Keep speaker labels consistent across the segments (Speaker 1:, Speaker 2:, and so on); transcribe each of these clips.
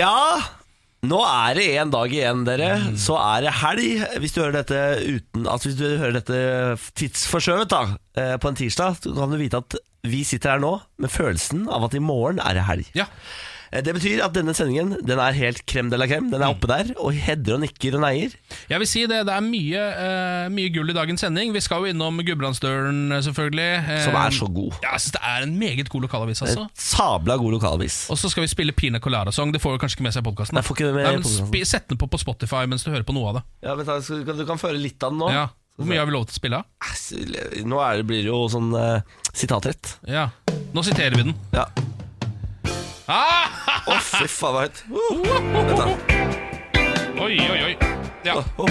Speaker 1: Ja, nå er det en dag igjen, dere. Så er det helg. Hvis du hører dette uten Altså hvis du hører dette tidsforskjøvet da eh, på en tirsdag, så kan du vite at vi sitter her nå med følelsen av at i morgen er det helg.
Speaker 2: Ja.
Speaker 1: Eh, Det betyr at denne sendingen den er helt krem de la krem. Den
Speaker 2: Mm.
Speaker 1: er oppe der og hedder og nikker og neier.
Speaker 2: Jeg vil si det, det er mye, eh, mye gull i dagens sending. Vi skal jo innom Gudbrandsdølen, eh, selvfølgelig. Eh,
Speaker 1: Som er så god. Eh.
Speaker 2: Ja, jeg synes det er en meget god lokalavis, altså.
Speaker 1: Et sabla god lokalavis.
Speaker 2: Og så skal vi spille Pina Colada-sang. Det får du kanskje ikke med seg i podkasten.
Speaker 1: Jeg får ikke det med i podcasten.
Speaker 2: Sett den på på Spotify mens du hører på noe av det.
Speaker 1: Ja, vent da, skal- kan- Du kan føre litt av den nå.
Speaker 2: Ja. Hvor mye har vi lov til å spille av?
Speaker 1: Ass, Nå er det, blir det jo sånn eh, sitatrett.
Speaker 2: Ja. Nå siterer vi den.
Speaker 1: Ja.
Speaker 2: Ah!
Speaker 1: Å, fy faen, hva høyt. Uh, vent da.
Speaker 2: Oi, oi, oi. Ja.
Speaker 1: Oh.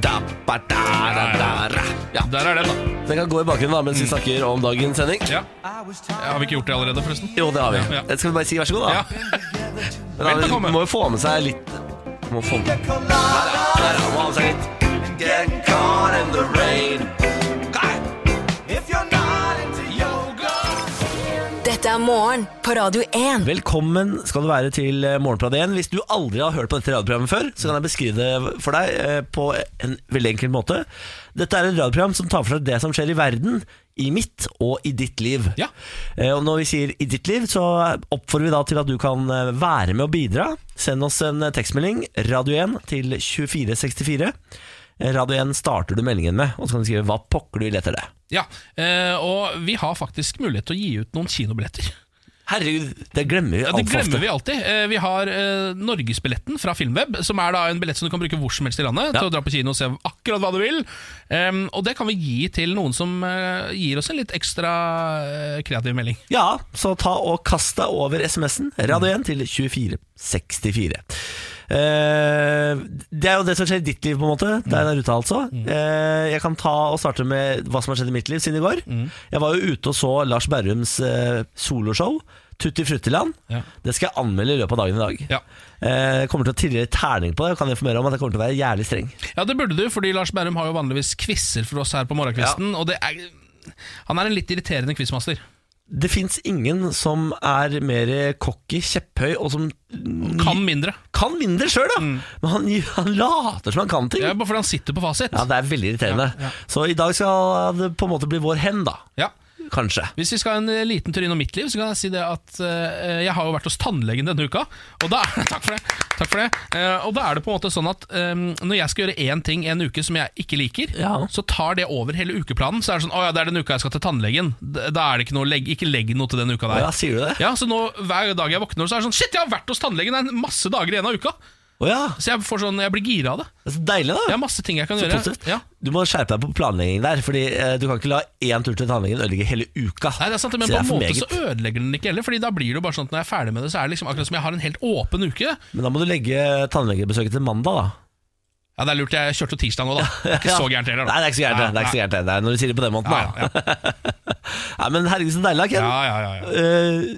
Speaker 1: Da, ba, da, da, da, ra. Ja.
Speaker 2: Der er den, da. Mm.
Speaker 1: Den kan gå i bakgrunnen da, mens vi snakker om dagens sending.
Speaker 2: Ja. Har vi ikke gjort det allerede, forresten?
Speaker 1: Jo, det har vi.
Speaker 2: Ja.
Speaker 1: Det skal vi bare si vær så god, da.
Speaker 2: Ja.
Speaker 1: Men da, vi
Speaker 2: velbekomme.
Speaker 1: må jo få med seg litt Må få med Der, ja. Der, ja. Må ha med seg litt. Get caught in the rain.
Speaker 3: Dette er morgen på Radio 1.
Speaker 1: Velkommen skal du være til eh, Morgenprat 1. Hvis du aldri har hørt på dette radioprogrammet før, så kan jeg beskrive det for deg eh, på en veldig enkel måte. Dette er et radioprogram som tar for seg det som skjer i verden, i mitt og i ditt liv.
Speaker 2: Ja.
Speaker 1: Eh, Og når vi sier i ditt liv, så oppfordrer vi da til at du kan eh, være med og bidra. Send oss en eh, tekstmelding, Radio 1, til 2464. Eh, Radio 1 starter du meldingen med, og så kan du skrive hva pokker du vil etter det.
Speaker 2: ja. Eh, og vi har faktisk mulighet til å gi ut noen kinobilletter.
Speaker 1: Herregud, det glemmer vi
Speaker 2: Ja,
Speaker 1: alt
Speaker 2: det
Speaker 1: for ofte.
Speaker 2: glemmer vi alltid. Eh, Vi har eh, Norgesbilletten fra Filmweb, som er da en billett som du kan bruke hvor som helst i landet.
Speaker 1: Ja.
Speaker 2: Til å dra på kino og se akkurat hva du vil. Em, og det kan vi gi til noen som eh, gir oss en litt ekstra eh, kreativ melding.
Speaker 1: Ja, så ta og kast deg over SMS-en. Radio 1 til 2464. Eh, det er jo det som skjer i ditt liv, på en måte.
Speaker 2: Mm.
Speaker 1: Det er der ute, altså. Eh, jeg kan ta og starte med hva som har skjedd i mitt liv siden i går.
Speaker 2: Mm.
Speaker 1: Jeg var jo ute og så Lars Berrums eh, soloshow. Tutti Fruttiland.
Speaker 2: Ja.
Speaker 1: Det skal jeg anmelde i løpet av dagen i dag.
Speaker 2: Ja.
Speaker 1: Eh, jeg kommer til å trille terning på det og kan informere om at jeg kommer til å være jævlig streng.
Speaker 2: ja, det burde du, fordi Lars Berrum har jo vanligvis quizer for oss her på morgenkvisten. Og det er, han er en litt irriterende quizmaster.
Speaker 1: Det fins ingen som er mer cocky, kjepphøy og som
Speaker 2: Kan mindre.
Speaker 1: kan mindre sjøl, da. Men han, han later som han kan ting.
Speaker 2: Mm. Ja,
Speaker 1: Ja,
Speaker 2: bare fordi han sitter på fasit.
Speaker 1: det er veldig irriterende.
Speaker 2: Ja, ja.
Speaker 1: Så i dag skal det på en måte bli vår hen, da.
Speaker 2: Ja.
Speaker 1: Kanskje.
Speaker 2: Hvis vi skal en eh, liten tur innom mitt liv, så kan jeg si det at eh, jeg har jo vært hos tannlegen denne uka. Og da, takk for det. Takk for det. Eh, og da er det på en måte sånn at eh, når jeg skal gjøre én ting en uke som jeg ikke liker,
Speaker 1: Ja.
Speaker 2: så tar det over hele ukeplanen. Så er det sånn Å ja, det er den uka jeg skal til tannlegen. D- Da er det ikke noe legg, Ikke legg noe til den uka der.
Speaker 1: Ja, sier du det?
Speaker 2: Ja, Så nå hver dag jeg våkner, så er det sånn Shit, jeg har vært hos tannlegen! Det er masse dager igjen av uka.
Speaker 1: Å ja.
Speaker 2: Så jeg, får sånn, jeg blir gira av det.
Speaker 1: Det er så deilig, da.
Speaker 2: Jeg har masse ting jeg kan
Speaker 1: Så
Speaker 2: gjøre.
Speaker 1: positivt.
Speaker 2: Ja.
Speaker 1: Du må skjerpe deg på planleggingen der, Fordi eh, du kan ikke la én tur til tannlegen ødelegge hele uka.
Speaker 2: Nei, det er sant,
Speaker 1: Så
Speaker 2: men på en
Speaker 1: for
Speaker 2: måte
Speaker 1: meget.
Speaker 2: så ødelegger den ikke heller, Fordi da blir det jo bare sånn at når jeg er ferdig med det, så er det liksom akkurat som jeg har en helt åpen uke.
Speaker 1: Men da må du legge tannlegebesøket til mandag, da.
Speaker 2: Ja, det er lurt, jeg kjørte tirsdag nå, da. Det er ikke så gærent heller,
Speaker 1: Nei,
Speaker 2: da.
Speaker 1: det er ikke så gærent, det. det. er ikke så gærent det. Nei, Når du sier det på den måten,
Speaker 2: Ja,
Speaker 1: da.
Speaker 2: ja, ja.
Speaker 1: Nei, men herregud, så deilig, da, Ken.
Speaker 2: ja, ja, ja, ja.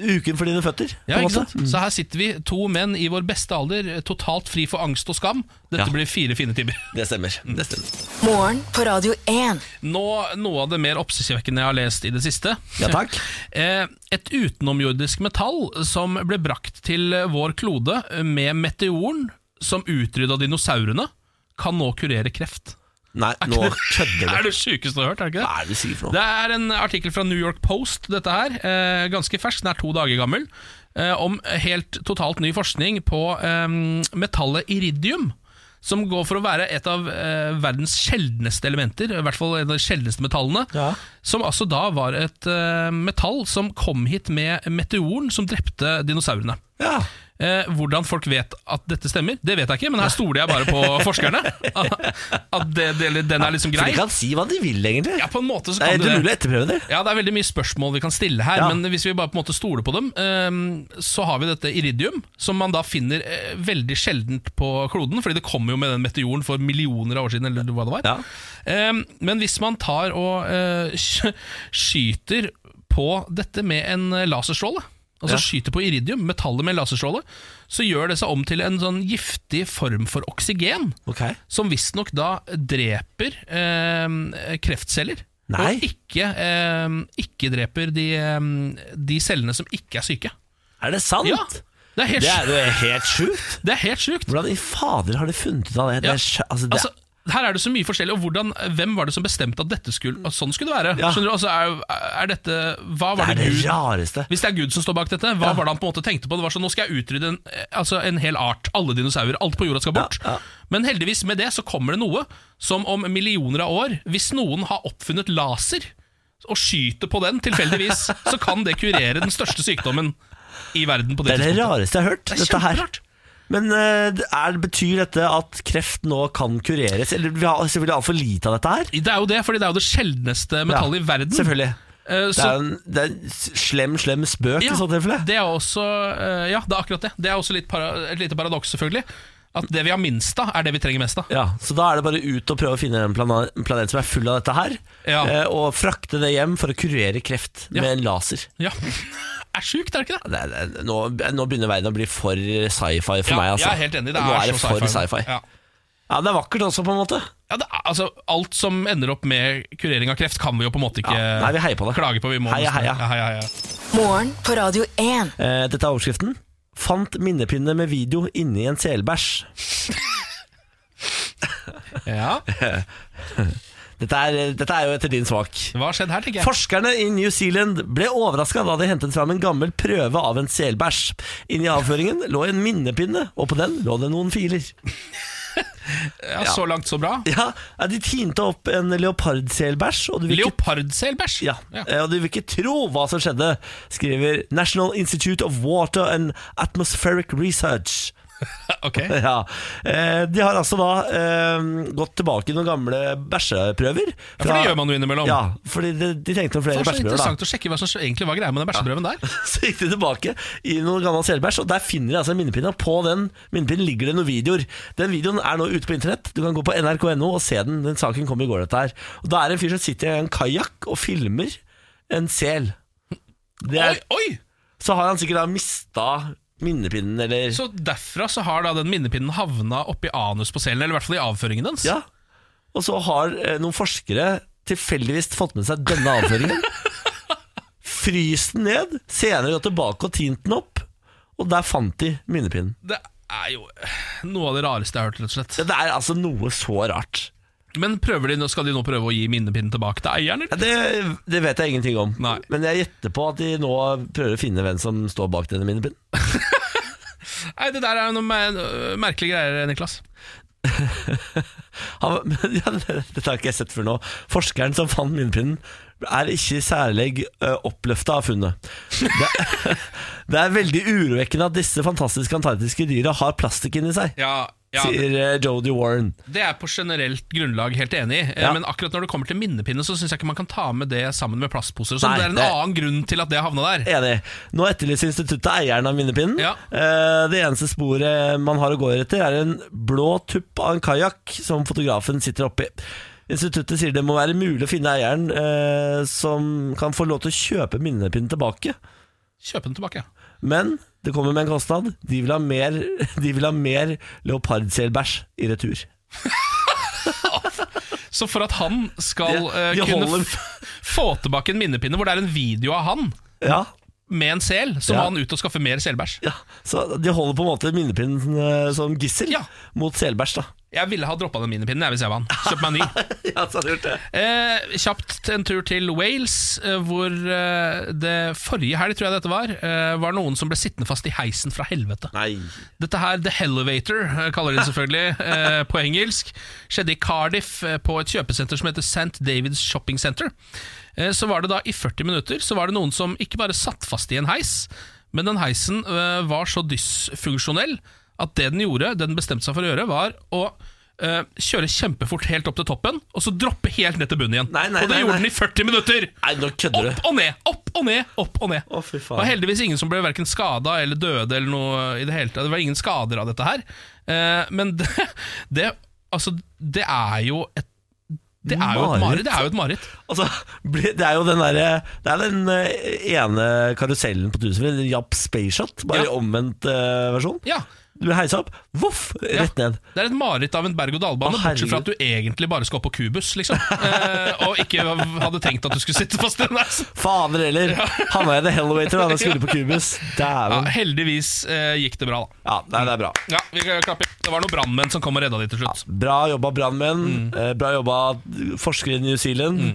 Speaker 1: Eh, uken for dine føtter.
Speaker 2: Ja,
Speaker 1: på en
Speaker 2: ikke
Speaker 1: måte. Mm.
Speaker 2: sant? Så her sitter vi, to menn i vår beste alder, totalt fri for angst og skam. Dette
Speaker 1: Ja.
Speaker 2: blir fire fine timer.
Speaker 1: Det stemmer. Det stemmer.
Speaker 3: Morgen på Radio 1.
Speaker 2: Nå noe av det mer oppsiktsvekkende jeg har lest i det siste.
Speaker 1: Ja, takk.
Speaker 2: Eh, Et utenomjordisk metall som ble brakt til vår klode med meteoren som utrydda dinosaurene, kan nå kurere kreft.
Speaker 1: Nei, nå kødder du.
Speaker 2: Det er det sjukeste du har hørt, er det ikke
Speaker 1: Hva
Speaker 2: det?
Speaker 1: er det du sier for noe?
Speaker 2: Det er en artikkel fra New York Post, dette her. Eh, ganske fersk, den er to dager gammel. Eh, om helt totalt ny forskning på eh, metallet iridium. Som går for å være et av eh, verdens sjeldneste elementer, i hvert fall en av de sjeldneste metallene.
Speaker 1: Ja.
Speaker 2: Som altså da var et eh, metall som kom hit med meteoren som drepte dinosaurene.
Speaker 1: Ja.
Speaker 2: Eh, hvordan folk vet at dette stemmer, det vet jeg ikke, men her stoler jeg bare på forskerne. At det, det, eller den er liksom
Speaker 1: For
Speaker 2: grei.
Speaker 1: de kan si hva de vil, egentlig.
Speaker 2: Ja, på en måte så
Speaker 1: det er
Speaker 2: kan
Speaker 1: helt
Speaker 2: du
Speaker 1: umulig
Speaker 2: det.
Speaker 1: å etterprøve det.
Speaker 2: Ja, Det er veldig mye spørsmål vi kan stille her,
Speaker 1: Ja.
Speaker 2: men hvis vi bare på en måte stoler på dem, eh, så har vi dette iridium, som man da finner eh, veldig sjeldent på kloden, fordi det kom jo med den meteoren for millioner av år siden, eller hva det var.
Speaker 1: Ja.
Speaker 2: Eh, Men hvis man tar og eh, sk- skyter på dette med en eh, laserstråle, altså
Speaker 1: Ja.
Speaker 2: skyter på iridium, metallet med en laserstråle, så gjør det seg om til en sånn giftig form for oksygen
Speaker 1: Ok.
Speaker 2: som visstnok da dreper eh, kreftceller.
Speaker 1: Nei.
Speaker 2: Og ikke, eh, ikke dreper de, eh, de cellene som ikke er syke.
Speaker 1: Er det sant?
Speaker 2: Ja, Det er helt,
Speaker 1: Det er
Speaker 2: sjukt.
Speaker 1: jo helt sjukt.
Speaker 2: det er helt sjukt.
Speaker 1: Hvordan i fader har de funnet ut av det? det,
Speaker 2: Ja.
Speaker 1: er, skj- altså, det
Speaker 2: Altså, her er det så mye forskjellig, og hvordan, hvem var det som bestemte at dette skulle, at sånn skulle det være?
Speaker 1: Ja.
Speaker 2: Skjønner du, altså, er, er dette,
Speaker 1: det
Speaker 2: hva var
Speaker 1: er det
Speaker 2: det, Gud
Speaker 1: rareste.
Speaker 2: Hvis det er Gud som står bak dette, hva var det han på en måte tenkte på? Det var sånn, Nå skal jeg utrydde en, eh, altså en hel art. Alle dinosaurer. Alt på jorda skal bort.
Speaker 1: Ja, ja.
Speaker 2: Men heldigvis med det så kommer det noe som om millioner av år, hvis noen har oppfunnet laser og skyter på den tilfeldigvis, så kan det kurere den største sykdommen i verden
Speaker 1: Det
Speaker 2: på det
Speaker 1: er det
Speaker 2: tidspunktet.
Speaker 1: rareste jeg har hørt.
Speaker 2: Det er
Speaker 1: dette her.
Speaker 2: kjemperart.
Speaker 1: Men eh, det er, betyr dette at kreft nå kan kureres? Eller vi har selvfølgelig altfor lite av dette her.
Speaker 2: Det er jo det, fordi det er jo det sjeldneste metallet
Speaker 1: Ja,
Speaker 2: i verden.
Speaker 1: Selvfølgelig.
Speaker 2: Eh,
Speaker 1: Det
Speaker 2: Så,
Speaker 1: er en, det er en s- slem, slem spøk
Speaker 2: Ja,
Speaker 1: i så tilfelle.
Speaker 2: Det er også eh, Ja, det er akkurat det. Det er også litt para, et lite paradoks, selvfølgelig. At det vi har minst av, er det vi trenger mest av.
Speaker 1: Ja, så da er det bare ut og prøve å finne en plana- en planet som er full av dette her,
Speaker 2: Ja.
Speaker 1: eh, og frakte det hjem for å kurere kreft
Speaker 2: Ja.
Speaker 1: med en laser.
Speaker 2: Ja. Det er sjukt, er det ikke det?
Speaker 1: Det, er- det, er- nå, nå begynner verden å bli for sci-fi for
Speaker 2: ja,
Speaker 1: meg. Altså.
Speaker 2: Jeg er helt enig. Det er,
Speaker 1: nå er det
Speaker 2: så
Speaker 1: for
Speaker 2: sci-fi.
Speaker 1: sci-fi. Ja.
Speaker 2: Ja.
Speaker 1: Det er vakkert også, på en måte.
Speaker 2: Ja, det er, altså, alt som ender opp med kurering av kreft, kan vi jo på en måte ikke
Speaker 1: Ja, nei, vi heier på det.
Speaker 2: klage på. Vi må
Speaker 1: Heia,
Speaker 2: nesten-
Speaker 1: heia.
Speaker 2: Ja, heia, heia.
Speaker 3: Morgen på Radio 1.
Speaker 1: Eh, dette er overskriften. Fant minnepinne med video inni en selbæsj.
Speaker 2: Ja.
Speaker 1: Dette, er- dette er jo etter din smak.
Speaker 2: Hva har skjedd her, tenker jeg.
Speaker 1: Forskerne i New Zealand ble overraska da de hentet fram en gammel prøve av en selbæsj. Inni avføringen lå en minnepinne, og på den lå det noen filer.
Speaker 2: ja, Så langt, så bra.
Speaker 1: Ja, ja, De tinte opp en leopardselbæsj, og du vil ikke
Speaker 2: Leopardselbæsj.
Speaker 1: ja, eh, og du vil ikke tro hva som skjedde, skriver National Institute of Water and Atmospheric Research.
Speaker 2: Ok.
Speaker 1: Ja, eh, De har altså da eh, gått tilbake i noen gamle bæsjeprøver.
Speaker 2: for det gjør man jo innimellom.
Speaker 1: Ja, fordi de, de tenkte om
Speaker 2: Det
Speaker 1: flere
Speaker 2: var så
Speaker 1: bæsjeprøver. da.
Speaker 2: interessant å sjekke hva som egentlig var greia med den bæsjeprøven der.
Speaker 1: Så gikk de tilbake i noen gammel selbæsj, og der finner de altså en minnepinne. Og på den minnepinnen ligger det noen videoer. Den videoen er nå ute på internett. Du kan gå på nrk.no og se den. Den saken kom i går, dette her. Og da er det en fyr som sitter i en kajakk og filmer en sel. Det
Speaker 2: Oi,
Speaker 1: er,
Speaker 2: oi!
Speaker 1: så har han sikkert da mista minnepinnen, eller
Speaker 2: Så derfra så har da den minnepinnen havna oppi anus på selen, eller i hvert fall i avføringen dens.
Speaker 1: Ja. Og så har eh, noen forskere tilfeldigvis fått med seg denne avføringen. Fryst den ned, senere gått tilbake og tint den opp, og der fant de minnepinnen.
Speaker 2: Det er jo noe av det rareste jeg har hørt, rett og slett.
Speaker 1: Ja, det er altså noe så rart.
Speaker 2: Men prøver de, nå- skal de nå prøve å gi minnepinnen tilbake til eieren?
Speaker 1: Ja,
Speaker 2: Eller?
Speaker 1: det, det vet jeg ingenting om.
Speaker 2: Nei.
Speaker 1: Men jeg gjetter på at de nå prøver å finne hvem som står bak denne minnepinnen.
Speaker 2: Nei, det der er noen mer- øh, merkelige greier, Niklas.
Speaker 1: Han, men, ja, det- dette har ikke jeg sett før nå. Forskeren som fant minnepinnen, er ikke særlig oppløfta av funnet. Det, det er veldig urovekkende at disse fantastiske antarktiske dyra har plastikk inni seg,
Speaker 2: Ja, ja
Speaker 1: sier eh, Jodie Warren.
Speaker 2: det er på generelt grunnlag helt enig i, eh,
Speaker 1: Ja.
Speaker 2: men akkurat når det kommer til minnepinne, så syns jeg ikke man kan ta med det sammen med plastposer. og sånn.
Speaker 1: Nei,
Speaker 2: det er en
Speaker 1: det-
Speaker 2: annen grunn til at det havna der.
Speaker 1: Enig. Nå etterlyser instituttet eieren av minnepinnen.
Speaker 2: Ja.
Speaker 1: Eh, Det eneste sporet man har å gå etter, er en blå tupp av en kajakk som fotografen sitter oppi. Instituttet sier det må være mulig å finne eieren eh, som kan få lov til å kjøpe minnepinnen tilbake.
Speaker 2: Kjøp den tilbake.
Speaker 1: Men det kommer med en kostnad. De vil ha mer, de vil ha mer leopardselbæsj i retur.
Speaker 2: Så for at han skal eh,
Speaker 1: de
Speaker 2: kunne
Speaker 1: holder-
Speaker 2: f- få tilbake en minnepinne hvor det er en video av han
Speaker 1: Ja,
Speaker 2: med en sel, så
Speaker 1: Ja.
Speaker 2: må han ut og skaffe mer selbæsj.
Speaker 1: ja. Så de holder på en måte minnepinnen eh, som gissel
Speaker 2: Ja.
Speaker 1: mot selbæsj, da.
Speaker 2: Jeg ville ha droppa den minnepinnen jeg, hvis jeg var han. Kjøp meg en ny.
Speaker 1: Ja, så har de gjort det.
Speaker 2: Eh, kjapt en tur til Wales, eh, hvor eh, det forrige helg, tror jeg dette var, eh, var noen som ble sittende fast i heisen fra helvete.
Speaker 1: Nei.
Speaker 2: Dette her, The Elevator, eh, kaller de det selvfølgelig eh, på engelsk, skjedde i Cardiff eh, på et kjøpesenter som heter St. Davids Shopping Center. Eh, så var det da i 40 minutter så var det noen som ikke bare satt fast i en heis, Men den heisen øh, var så dysfunksjonell at det den gjorde, det den bestemte seg for å gjøre, var å øh, kjøre kjempefort helt opp til toppen, og så droppe helt ned til bunnen igjen.
Speaker 1: Nei, nei,
Speaker 2: og det
Speaker 1: nei,
Speaker 2: gjorde
Speaker 1: nei.
Speaker 2: den i 40 minutter!
Speaker 1: Nei, nå kødder du.
Speaker 2: Opp og ned, opp og ned, opp og ned.
Speaker 1: Å, fy
Speaker 2: Det var
Speaker 1: faen.
Speaker 2: heldigvis ingen som ble hverken skada eller døde eller noe i det hele tatt. Det var ingen skader av dette her. Eh, men det, det Altså, det er jo et det er jo et mareritt. Det er jo et mareritt.
Speaker 1: Altså, bli- det er jo den derre Det er den eh, ene karusellen på Tusenfryd, Japp Spaceshot, bare
Speaker 2: Ja.
Speaker 1: i omvendt eh, versjon.
Speaker 2: Ja,
Speaker 1: Du blir heisa opp, voff,
Speaker 2: ja.
Speaker 1: rett ned.
Speaker 2: Det er et mareritt av en berg-og-dal-bane,
Speaker 1: Å,
Speaker 2: bortsett fra
Speaker 1: herregud.
Speaker 2: at du egentlig bare skal opp på kubus, liksom. Eh, og ikke hadde tenkt at du skulle sitte fast i den der.
Speaker 1: Fader heller! Havna i The Hellewater da jeg skulle på Cubus.
Speaker 2: Ja,
Speaker 1: Dæven.
Speaker 2: heldigvis eh, gikk det bra, da.
Speaker 1: Ja, nei, det er bra.
Speaker 2: Ja, vi klapper. Det var noen brannmenn som kom og redda de til slutt.
Speaker 1: Bra jobba brannmenn.
Speaker 2: Mm.
Speaker 1: eh, Bra jobba forskere i New Zealand.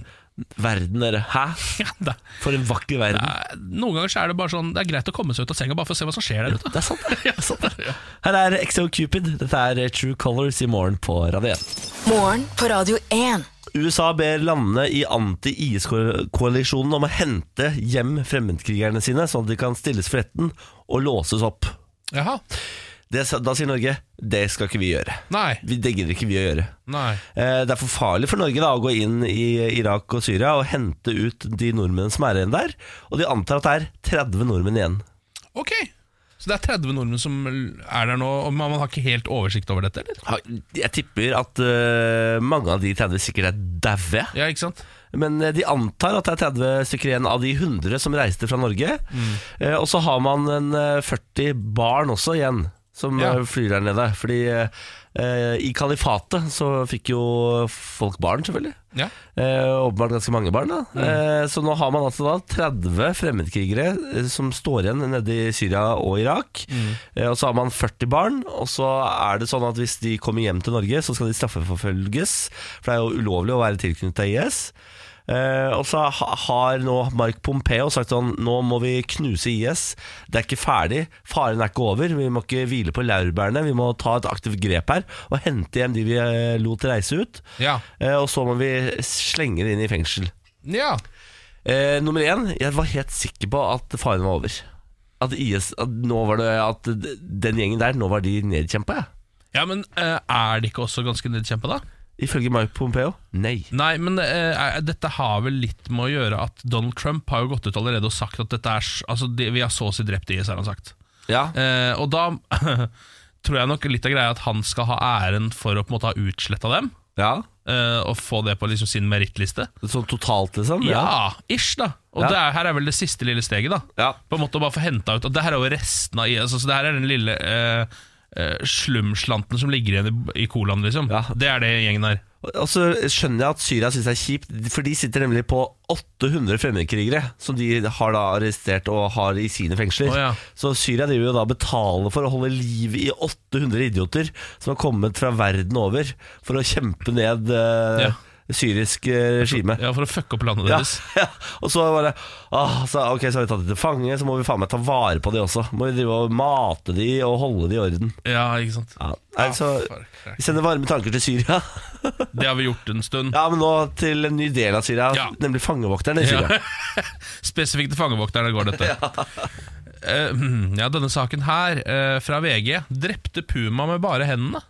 Speaker 1: Verden, dere. Hæ?
Speaker 2: Ja, det,
Speaker 1: For en vakker verden.
Speaker 2: eh, noen ganger så er det bare sånn Det er greit å komme seg ut av senga bare for å se hva som skjer der ute.
Speaker 1: Det er sant, det. det. er sant, det. Her er XO Cupid. Dette er True Colors i morgen på Radio 1.
Speaker 3: Morgen på Radio 1.
Speaker 1: USA ber landene i anti-IS-koalisjonen om å hente hjem fremmedkrigerne sine, sånn at de kan stilles for retten og låses opp.
Speaker 2: Jaha.
Speaker 1: Det, sa- da sier Norge det skal ikke vi gjøre.
Speaker 2: Nei.
Speaker 1: Vi, det gidder ikke vi å gjøre.
Speaker 2: Nei.
Speaker 1: Eh, Det er for farlig for Norge da, å gå inn i Irak og Syria og hente ut de nordmennene som er igjen der. Og de antar at det er 30 nordmenn igjen.
Speaker 2: Ok. Så det er 30 nordmenn som er der nå, og man man har ikke helt oversikt over dette, eller?
Speaker 1: Ha- Jeg tipper at eh, mange av de 30 sikkert er daue.
Speaker 2: Ja, ikke sant?
Speaker 1: Men eh, de antar at det er 30 stykker igjen av de 100 som reiste fra Norge.
Speaker 2: Mm.
Speaker 1: Eh, Og så har man en eh, 40 barn også igjen, som
Speaker 2: Ja.
Speaker 1: eh, flyr der nede. Fordi eh, i kalifatet så fikk jo folk barn, selvfølgelig.
Speaker 2: Ja.
Speaker 1: Eh, åpenbart ganske mange barn. da eh, Så nå har man altså da 30 fremmedkrigere eh, som står igjen nede i Syria og Irak. Eh, og så har man 40 barn, og så er det sånn at hvis de kommer hjem til Norge, så skal de straffeforfølges. For det er jo ulovlig å være tilknyttet IS. Eh, og så ha, har nå Mark Pompeo sagt sånn Nå må vi knuse IS. Det er ikke ferdig. Faren er ikke over. Vi må ikke hvile på laurbærene. Vi må ta et aktivt grep her og hente hjem de vi eh, lot reise ut.
Speaker 2: Ja.
Speaker 1: Eh, Og så må vi slenge det inn i fengsel.
Speaker 2: ja.
Speaker 1: Eh, nummer én, jeg var helt sikker på at faren var over. At IS, at nå var det At d- den gjengen der, nå var de nedkjempa, jeg.
Speaker 2: Ja, men eh, er det ikke også ganske nedkjempa, da?
Speaker 1: Ifølge Mark Pompeo. Nei.
Speaker 2: Nei, men eh, er- dette har vel litt med å gjøre at Donald Trump har jo gått ut allerede og sagt at dette er s- Altså, de, vi har så å si drept IS, har han sagt.
Speaker 1: Ja.
Speaker 2: Eh, og da tror jeg nok litt av greia er at han skal ha æren for å på en måte ha utsletta dem,
Speaker 1: ja.
Speaker 2: eh, og få det på liksom sin merittliste.
Speaker 1: Sånn totalt, liksom?
Speaker 2: Ja, ish, da. Og
Speaker 1: Ja.
Speaker 2: det er, her er vel det siste lille steget, da.
Speaker 1: Ja.
Speaker 2: På en måte å bare få henta ut Og det her er jo resten av IS. Altså, det her er den lille eh, eh, slumslanten som ligger igjen i, i colaen, liksom.
Speaker 1: Ja.
Speaker 2: Det er det gjengen her.
Speaker 1: Og- Og så skjønner jeg at Syria syns det er kjipt, for de sitter nemlig på 800 fremmedkrigere som de har da arrestert og har i sine fengsler.
Speaker 2: Å, ja.
Speaker 1: Så Syria driver jo da og betaler for å holde liv i 800 idioter som har kommet fra verden over for å kjempe ned eh,
Speaker 2: Ja.
Speaker 1: syrisk eh, regime.
Speaker 2: Ja, For å fucke opp landet
Speaker 1: Ja,
Speaker 2: deres.
Speaker 1: ja. Og så bare ah, så, Ok, så har vi tatt dem til fange, så må vi faen meg ta vare på de også. Må vi drive og mate de og holde de i orden.
Speaker 2: Ja, ikke sant.
Speaker 1: Ja. Nei, så
Speaker 2: fuck, fuck.
Speaker 1: vi sender varme tanker til Syria.
Speaker 2: Det har vi gjort en stund.
Speaker 1: Ja, men nå til en ny del av Syria,
Speaker 2: Ja.
Speaker 1: nemlig fangevokterne i Syria.
Speaker 2: Spesifikt til fangevokterne går dette. ja. ja, denne saken her, eh, fra VG. 'Drepte puma med bare hendene'.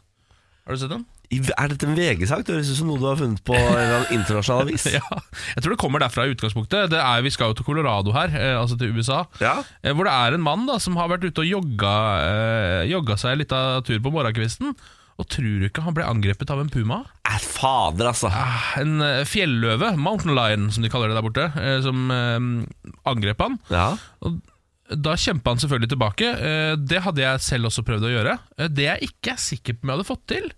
Speaker 2: Har du sett den?
Speaker 1: I- Er dette en VG-sak? Det høres ut som noe du har funnet på en eller annen internasjonal avis.
Speaker 2: Ja, jeg tror det kommer derfra i utgangspunktet. Det er, vi skal jo til Colorado her, eh, altså til USA.
Speaker 1: Ja.
Speaker 2: Eh, hvor det er en mann da som har vært ute og jogga, eh, jogga seg litt av tur på morgenkvisten. Og tror du ikke han ble angrepet av en puma?
Speaker 1: Eh, Fader, altså.
Speaker 2: Ah, En eh, fjelløve, mountain lion som de kaller det der borte, eh, som eh, angrep han.
Speaker 1: Ja.
Speaker 2: Da kjempa han selvfølgelig tilbake. Eh, Det hadde jeg selv også prøvd å gjøre. Eh, Det jeg ikke er sikker på om jeg hadde fått til,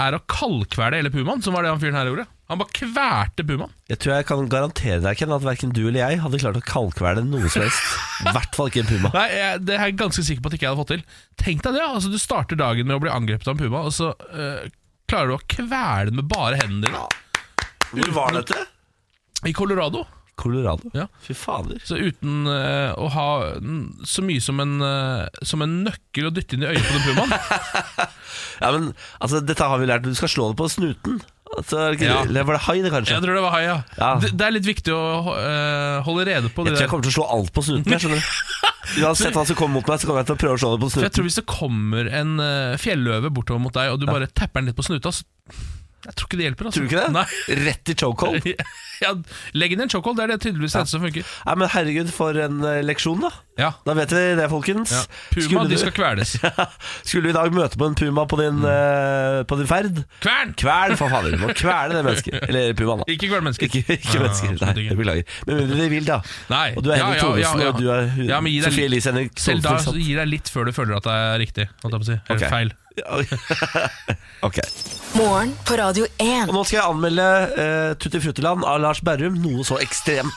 Speaker 2: er å kaldkvele hele pumaen, som var det han fyren her gjorde. Han bare kvelte pumaen.
Speaker 1: Jeg tror jeg kan garantere deg, Ken, at verken du eller jeg hadde klart å kalkvele noe som helst. I hvert fall ikke en puma.
Speaker 2: Nei, jeg, Det er jeg ganske sikker på at ikke jeg hadde fått til. Tenk deg det, ja. altså Du starter dagen med å bli angrepet av en puma, og så eh, klarer du å kvele den med bare hendene dine.
Speaker 1: Hvor var dette?
Speaker 2: I Colorado.
Speaker 1: Colorado.
Speaker 2: Ja.
Speaker 1: Fy fader.
Speaker 2: Så uten eh, å ha mm, så mye som en, eh, som en nøkkel å dytte inn i øyet på den pumaen.
Speaker 1: Ja, men altså, dette har vi lært. Du skal slå det på snuten. Altså, er det ikke-
Speaker 2: Ja.
Speaker 1: Eller var det hai, det, kanskje?
Speaker 2: Jeg tror det var hai, ja.
Speaker 1: Ja.
Speaker 2: Det, det er litt viktig å eh, holde rede på.
Speaker 1: Jeg
Speaker 2: Det
Speaker 1: tror jeg
Speaker 2: der.
Speaker 1: kommer til å slå alt på snuten. Jeg skjønner du. Uansett hva som kommer mot meg, så kommer jeg til å prøve å slå det på
Speaker 2: For jeg
Speaker 1: snuten.
Speaker 2: tror hvis det kommer en eh, fjelløve bortover mot deg, og du bare tapper den litt på snuta, så jeg tror ikke det hjelper. Altså.
Speaker 1: Tror du ikke det?
Speaker 2: Nei.
Speaker 1: Rett i chokehold.
Speaker 2: Ja, legg inn en chokehold, det er det tydeligvis eneste som funker.
Speaker 1: Nei, men herregud, for en eh, leksjon, da.
Speaker 2: Ja.
Speaker 1: Da vet vi det, folkens.
Speaker 2: ja. Puma,
Speaker 1: Skulle
Speaker 2: de
Speaker 1: du-
Speaker 2: skal Mm. kveles.
Speaker 1: Skulle du i dag møte på en puma på din, eh, på din ferd?
Speaker 2: Kvern!
Speaker 1: Kvern, for fader. Du må kvele det mennesket. Eller pumaen, da.
Speaker 2: Ikke Ah, kvel mennesker.
Speaker 1: Ikke, ikke mennesker,
Speaker 2: absolutt
Speaker 1: nei,
Speaker 2: ikke.
Speaker 1: jeg beklager. Men mindre de vil, da.
Speaker 2: Nei.
Speaker 1: Og du er
Speaker 2: Ja,
Speaker 1: Henrik
Speaker 2: ja,
Speaker 1: Thoresen,
Speaker 2: ja, ja.
Speaker 1: og du er hun-
Speaker 2: Ja, men gi deg
Speaker 1: Sofie
Speaker 2: litt-
Speaker 1: Elise Henrik
Speaker 2: Selv da så
Speaker 1: Solfrid.
Speaker 2: gir deg litt før du føler at det er riktig. Holdt jeg på å si. Eller
Speaker 1: Ok.
Speaker 2: feil.
Speaker 1: Ok.
Speaker 3: Morgen på Radio
Speaker 1: Og
Speaker 3: 1.
Speaker 1: nå skal jeg anmelde eh, Tutti Fruttiland av Lars Berrum, noe så ekstremt.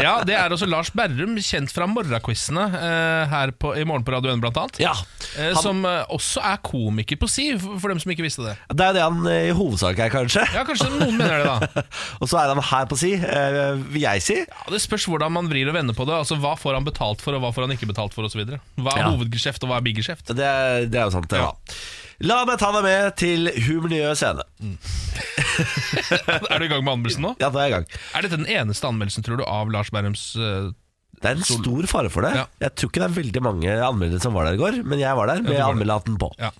Speaker 2: Ja, det er også Lars Berrum, kjent fra morgenquizene eh, her på, i Morgen på Radio 1, blant annet.
Speaker 1: Ja.
Speaker 2: Eh,
Speaker 1: Han-
Speaker 2: Som eh, også er komiker på si, for for dem som ikke visste det.
Speaker 1: Det er jo det han eh, i hovedsak er, kanskje.
Speaker 2: Ja, kanskje noen mener det, da.
Speaker 1: Og så er han her på si, eh, vil jeg si.
Speaker 2: Ja, det spørs hvordan man vrir og vender på det. Altså, Hva får han betalt for, og hva får han ikke betalt for, osv. Hva er
Speaker 1: Ja.
Speaker 2: hovedgeskjeft, og hva er biggeskjeft?
Speaker 1: Det, er- det er jo sant, det.
Speaker 2: Ja.
Speaker 1: da. La meg ta deg med til Humor Nye Scene.
Speaker 2: Er du i gang med anmeldelsen nå?
Speaker 1: Ja, da er jeg i gang.
Speaker 2: Er dette den eneste anmeldelsen, tror du, av Lars Berrums eh,
Speaker 1: Det er en stor fare for det.
Speaker 2: Ja.
Speaker 1: Jeg tror ikke det er veldig mange anmeldere som var der i går, men jeg var der med
Speaker 2: du var der.
Speaker 1: anmelderhatten på.
Speaker 2: Ja.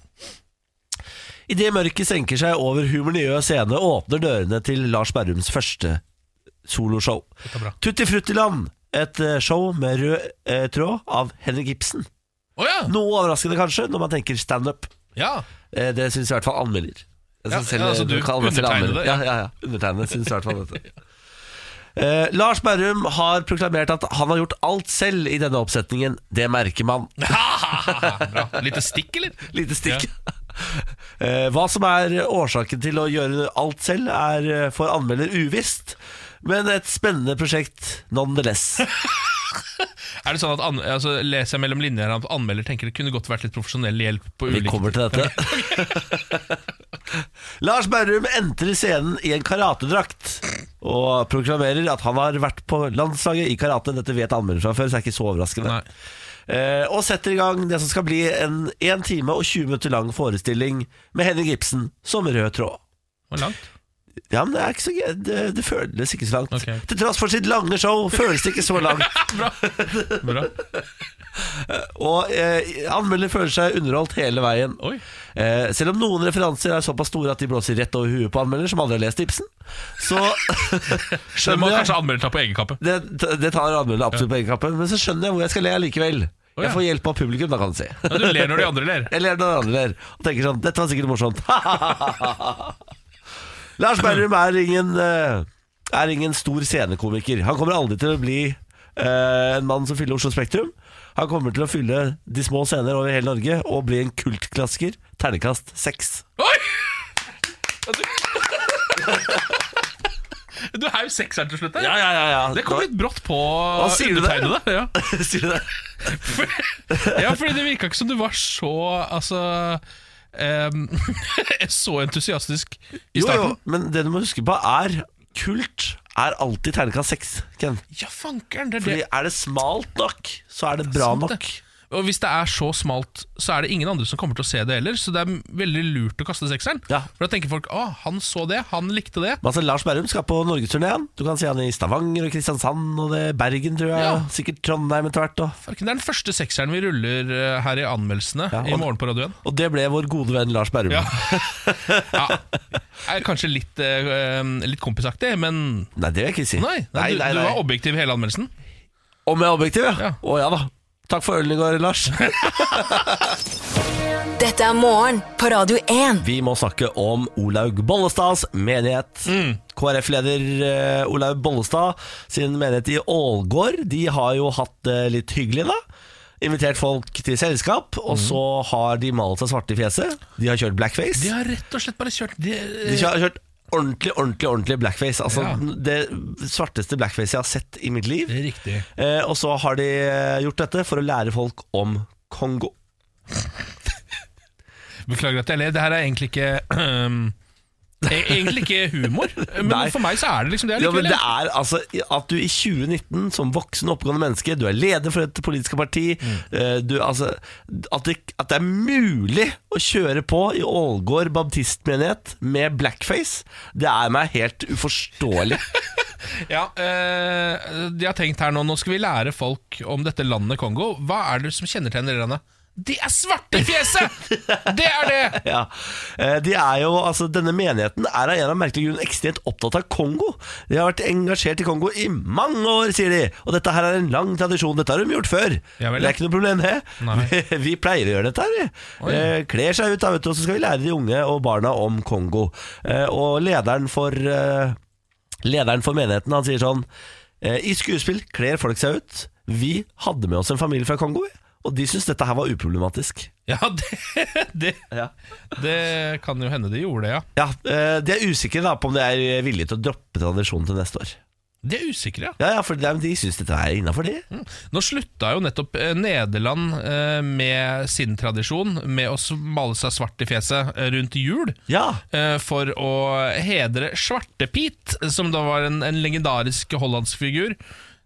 Speaker 1: Idet mørket senker seg over Humor Nye Scene, åpner dørene til Lars Berrums første soloshow.
Speaker 2: Dette er bra.
Speaker 1: Tutti Fruttiland, et eh, show med rød eh, tråd av Henrik Ibsen.
Speaker 2: Å ja!
Speaker 1: Noe overraskende kanskje, når man tenker standup.
Speaker 2: ja!
Speaker 1: Eh, Det syns i hvert fall anmelder. Jeg
Speaker 2: Ja,
Speaker 1: synes selv-
Speaker 2: ja, altså, du
Speaker 1: kaller meg selv
Speaker 2: undertegnede,
Speaker 1: anmelder.
Speaker 2: ja.
Speaker 1: Ja, ja, ja. Undertegnede syns i hvert fall dette. Eh, Lars Berrum har proklamert at han har gjort alt selv i denne oppsetningen. Det merker man.
Speaker 2: bra. Lite stikk, eller?
Speaker 1: Lite stikk. Eh, hva som er årsaken til å gjøre alt selv, er eh, for anmelder uvisst. Men et spennende prosjekt nonetheless.
Speaker 2: Er det sånn at an altså, Leser jeg mellom linjer at anmelder tenker det kunne godt vært litt profesjonell hjelp på
Speaker 1: Vi
Speaker 2: ulike
Speaker 1: kommer til dette. Lars Berrum entrer scenen i en karatedrakt og proklamerer at han har vært på landslaget i karate. Dette vet anmelderen fra før, så det er ikke så overraskende.
Speaker 2: Nei.
Speaker 1: Eh, og setter i gang det som skal bli en 1 time og 20 minutter lang forestilling med Henning Ibsen som rød tråd.
Speaker 2: Hvor langt?
Speaker 1: Ja, men Det er ikke så gøy. Det, det føles ikke så langt.
Speaker 2: Ok.
Speaker 1: Til tross for sitt lange show føles det ikke så langt.
Speaker 2: Bra.
Speaker 1: Og eh, anmelder føler seg underholdt hele veien.
Speaker 2: Oi.
Speaker 1: Eh, selv om noen referanser er såpass store at de blåser rett over huet på anmelder som aldri har lest tipsen, så
Speaker 2: Det må
Speaker 1: skjønner
Speaker 2: kanskje
Speaker 1: jeg
Speaker 2: anmelder ta på egen kappe.
Speaker 1: det, det tar anmelder absolutt på egenkappen, men så skjønner jeg hvor jeg skal le likevel.
Speaker 2: Å, ja.
Speaker 1: Jeg får hjelp av publikum, da, kan du si.
Speaker 2: Ja, du ler når de andre ler.
Speaker 1: Jeg ler når andre ler, og tenker sånn Dette var sikkert morsomt. Lars Berrum er ingen eh, Er ingen stor scenekomiker. Han kommer aldri til å bli eh, en mann som fyller Oslo Spektrum. Han kommer til å fylle de små scener over hele Norge og bli en kultklassiker. Ternekast seks.
Speaker 2: Oi! Ja, Du Du er jo sekseren til slutt. her.
Speaker 1: ja, ja, ja.
Speaker 2: Det kom litt brått på
Speaker 1: Hva sier du der?
Speaker 2: undertegnede. Ja.
Speaker 1: Sier du det?
Speaker 2: ja, fordi det virka ikke som du var så Altså em, Så entusiastisk i
Speaker 1: Jo, jo,
Speaker 2: starten.
Speaker 1: men det du må huske på er Kult er alltid ternekast seks, Ken.
Speaker 2: Ja, fankeren, det er
Speaker 1: Fordi
Speaker 2: det.
Speaker 1: er det smalt nok, så er det bra
Speaker 2: sant, det.
Speaker 1: nok.
Speaker 2: Og hvis det er så smalt, så er det ingen andre som kommer til å se det heller. Så det er veldig lurt å kaste sekseren.
Speaker 1: Ja.
Speaker 2: For da tenker folk å, han så det, han likte det.
Speaker 1: Men altså, Lars Berrum skal på norgesturnéen. Du kan se han i Stavanger og Kristiansand og det Bergen, tror jeg.
Speaker 2: Ja.
Speaker 1: og Sikkert Trondheim etter hvert. Og,
Speaker 2: Farken, Det er den første sekseren vi ruller eh, her i anmeldelsene
Speaker 1: Ja,
Speaker 2: i
Speaker 1: og-
Speaker 2: morgen på radioen.
Speaker 1: og det ble vår gode venn Lars Berrum.
Speaker 2: Ja. ja. Er kanskje litt, eh, em, litt kompisaktig, men
Speaker 1: Nei, det vil jeg ikke si.
Speaker 2: nei,
Speaker 1: nei,
Speaker 2: nei, du,
Speaker 1: nei,
Speaker 2: du
Speaker 1: nei.
Speaker 2: var objektiv i hele anmeldelsen.
Speaker 1: Om jeg er objektiv, ja.
Speaker 2: Ja.
Speaker 1: Å ja da. Takk for ølen i går, Lars.
Speaker 3: Dette er morgen på Radio 1.
Speaker 1: Vi må snakke om Olaug Bollestads menighet.
Speaker 2: Mm.
Speaker 1: KrF-leder eh, Olaug Bollestad sin menighet i Ålgård. De har jo hatt det litt hyggelig, da. Invitert folk til selskap,
Speaker 2: Mm.
Speaker 1: og så har de malt seg svarte i fjeset. De har kjørt blackface.
Speaker 2: De har rett og slett bare kjørt de, eh,
Speaker 1: De har kjørt ordentlig, ordentlig, ordentlig blackface. Altså
Speaker 2: Ja.
Speaker 1: Det svarteste blackface jeg har sett i mitt liv.
Speaker 2: Det er riktig.
Speaker 1: Eh, og så har de eh, gjort dette for å lære folk om Kongo.
Speaker 2: Beklager at jeg ler. Det her er egentlig ikke ehm, e- Egentlig ikke humor, men
Speaker 1: Nei.
Speaker 2: for meg så er det liksom det
Speaker 1: Ja, men
Speaker 2: likevel.
Speaker 1: det er altså At du i 2019, som voksen og oppegående menneske, du er leder for et politisk parti
Speaker 2: Mm.
Speaker 1: eh, du, altså, at, det, at det er mulig å kjøre på i Ålgård baptistmenighet med blackface, det er meg helt uforståelig.
Speaker 2: Ja, eh, De har tenkt her nå Nå skal vi lære folk om dette landet Kongo. Hva er det som kjennetegner det landet? De er svarte i fjeset! Det er det!
Speaker 1: Ja. Eh, De er jo, altså, denne menigheten er av en eller annen merkelig grunn ekstremt opptatt av Kongo. De har vært engasjert i Kongo i mange år, sier de. Og dette her er en lang tradisjon. Dette har de gjort før.
Speaker 2: Ja
Speaker 1: det
Speaker 2: vel, ja.
Speaker 1: er ikke noe problem, det.
Speaker 2: Nei.
Speaker 1: Vi, vi pleier å gjøre dette her, vi. Eh, Kler seg ut, da, vet du, og så skal vi lære de unge og barna om Kongo. Eh, Og lederen for eh, Lederen for menigheten han sier sånn eh, I skuespill kler folk seg ut Vi hadde med oss en familie fra Kongo vi, Og de syntes dette her var uproblematisk
Speaker 2: Ja, det, det,
Speaker 1: Ja,
Speaker 2: det kan jo hende de gjorde det, ja.
Speaker 1: eh, De er usikre da på om de er eh, villige til å droppe tradisjonen til neste år
Speaker 2: De er usikre, ja.
Speaker 1: Ja, ja, for de, de synes dette er innenfor de
Speaker 2: Nå slutta jo nettopp eh, Nederland eh, med sin tradisjon med å male seg svart i fjeset eh, rundt jul.
Speaker 1: Ja,
Speaker 2: eh, For å hedre Svartepit, som da var en, en legendarisk hollandsk figur.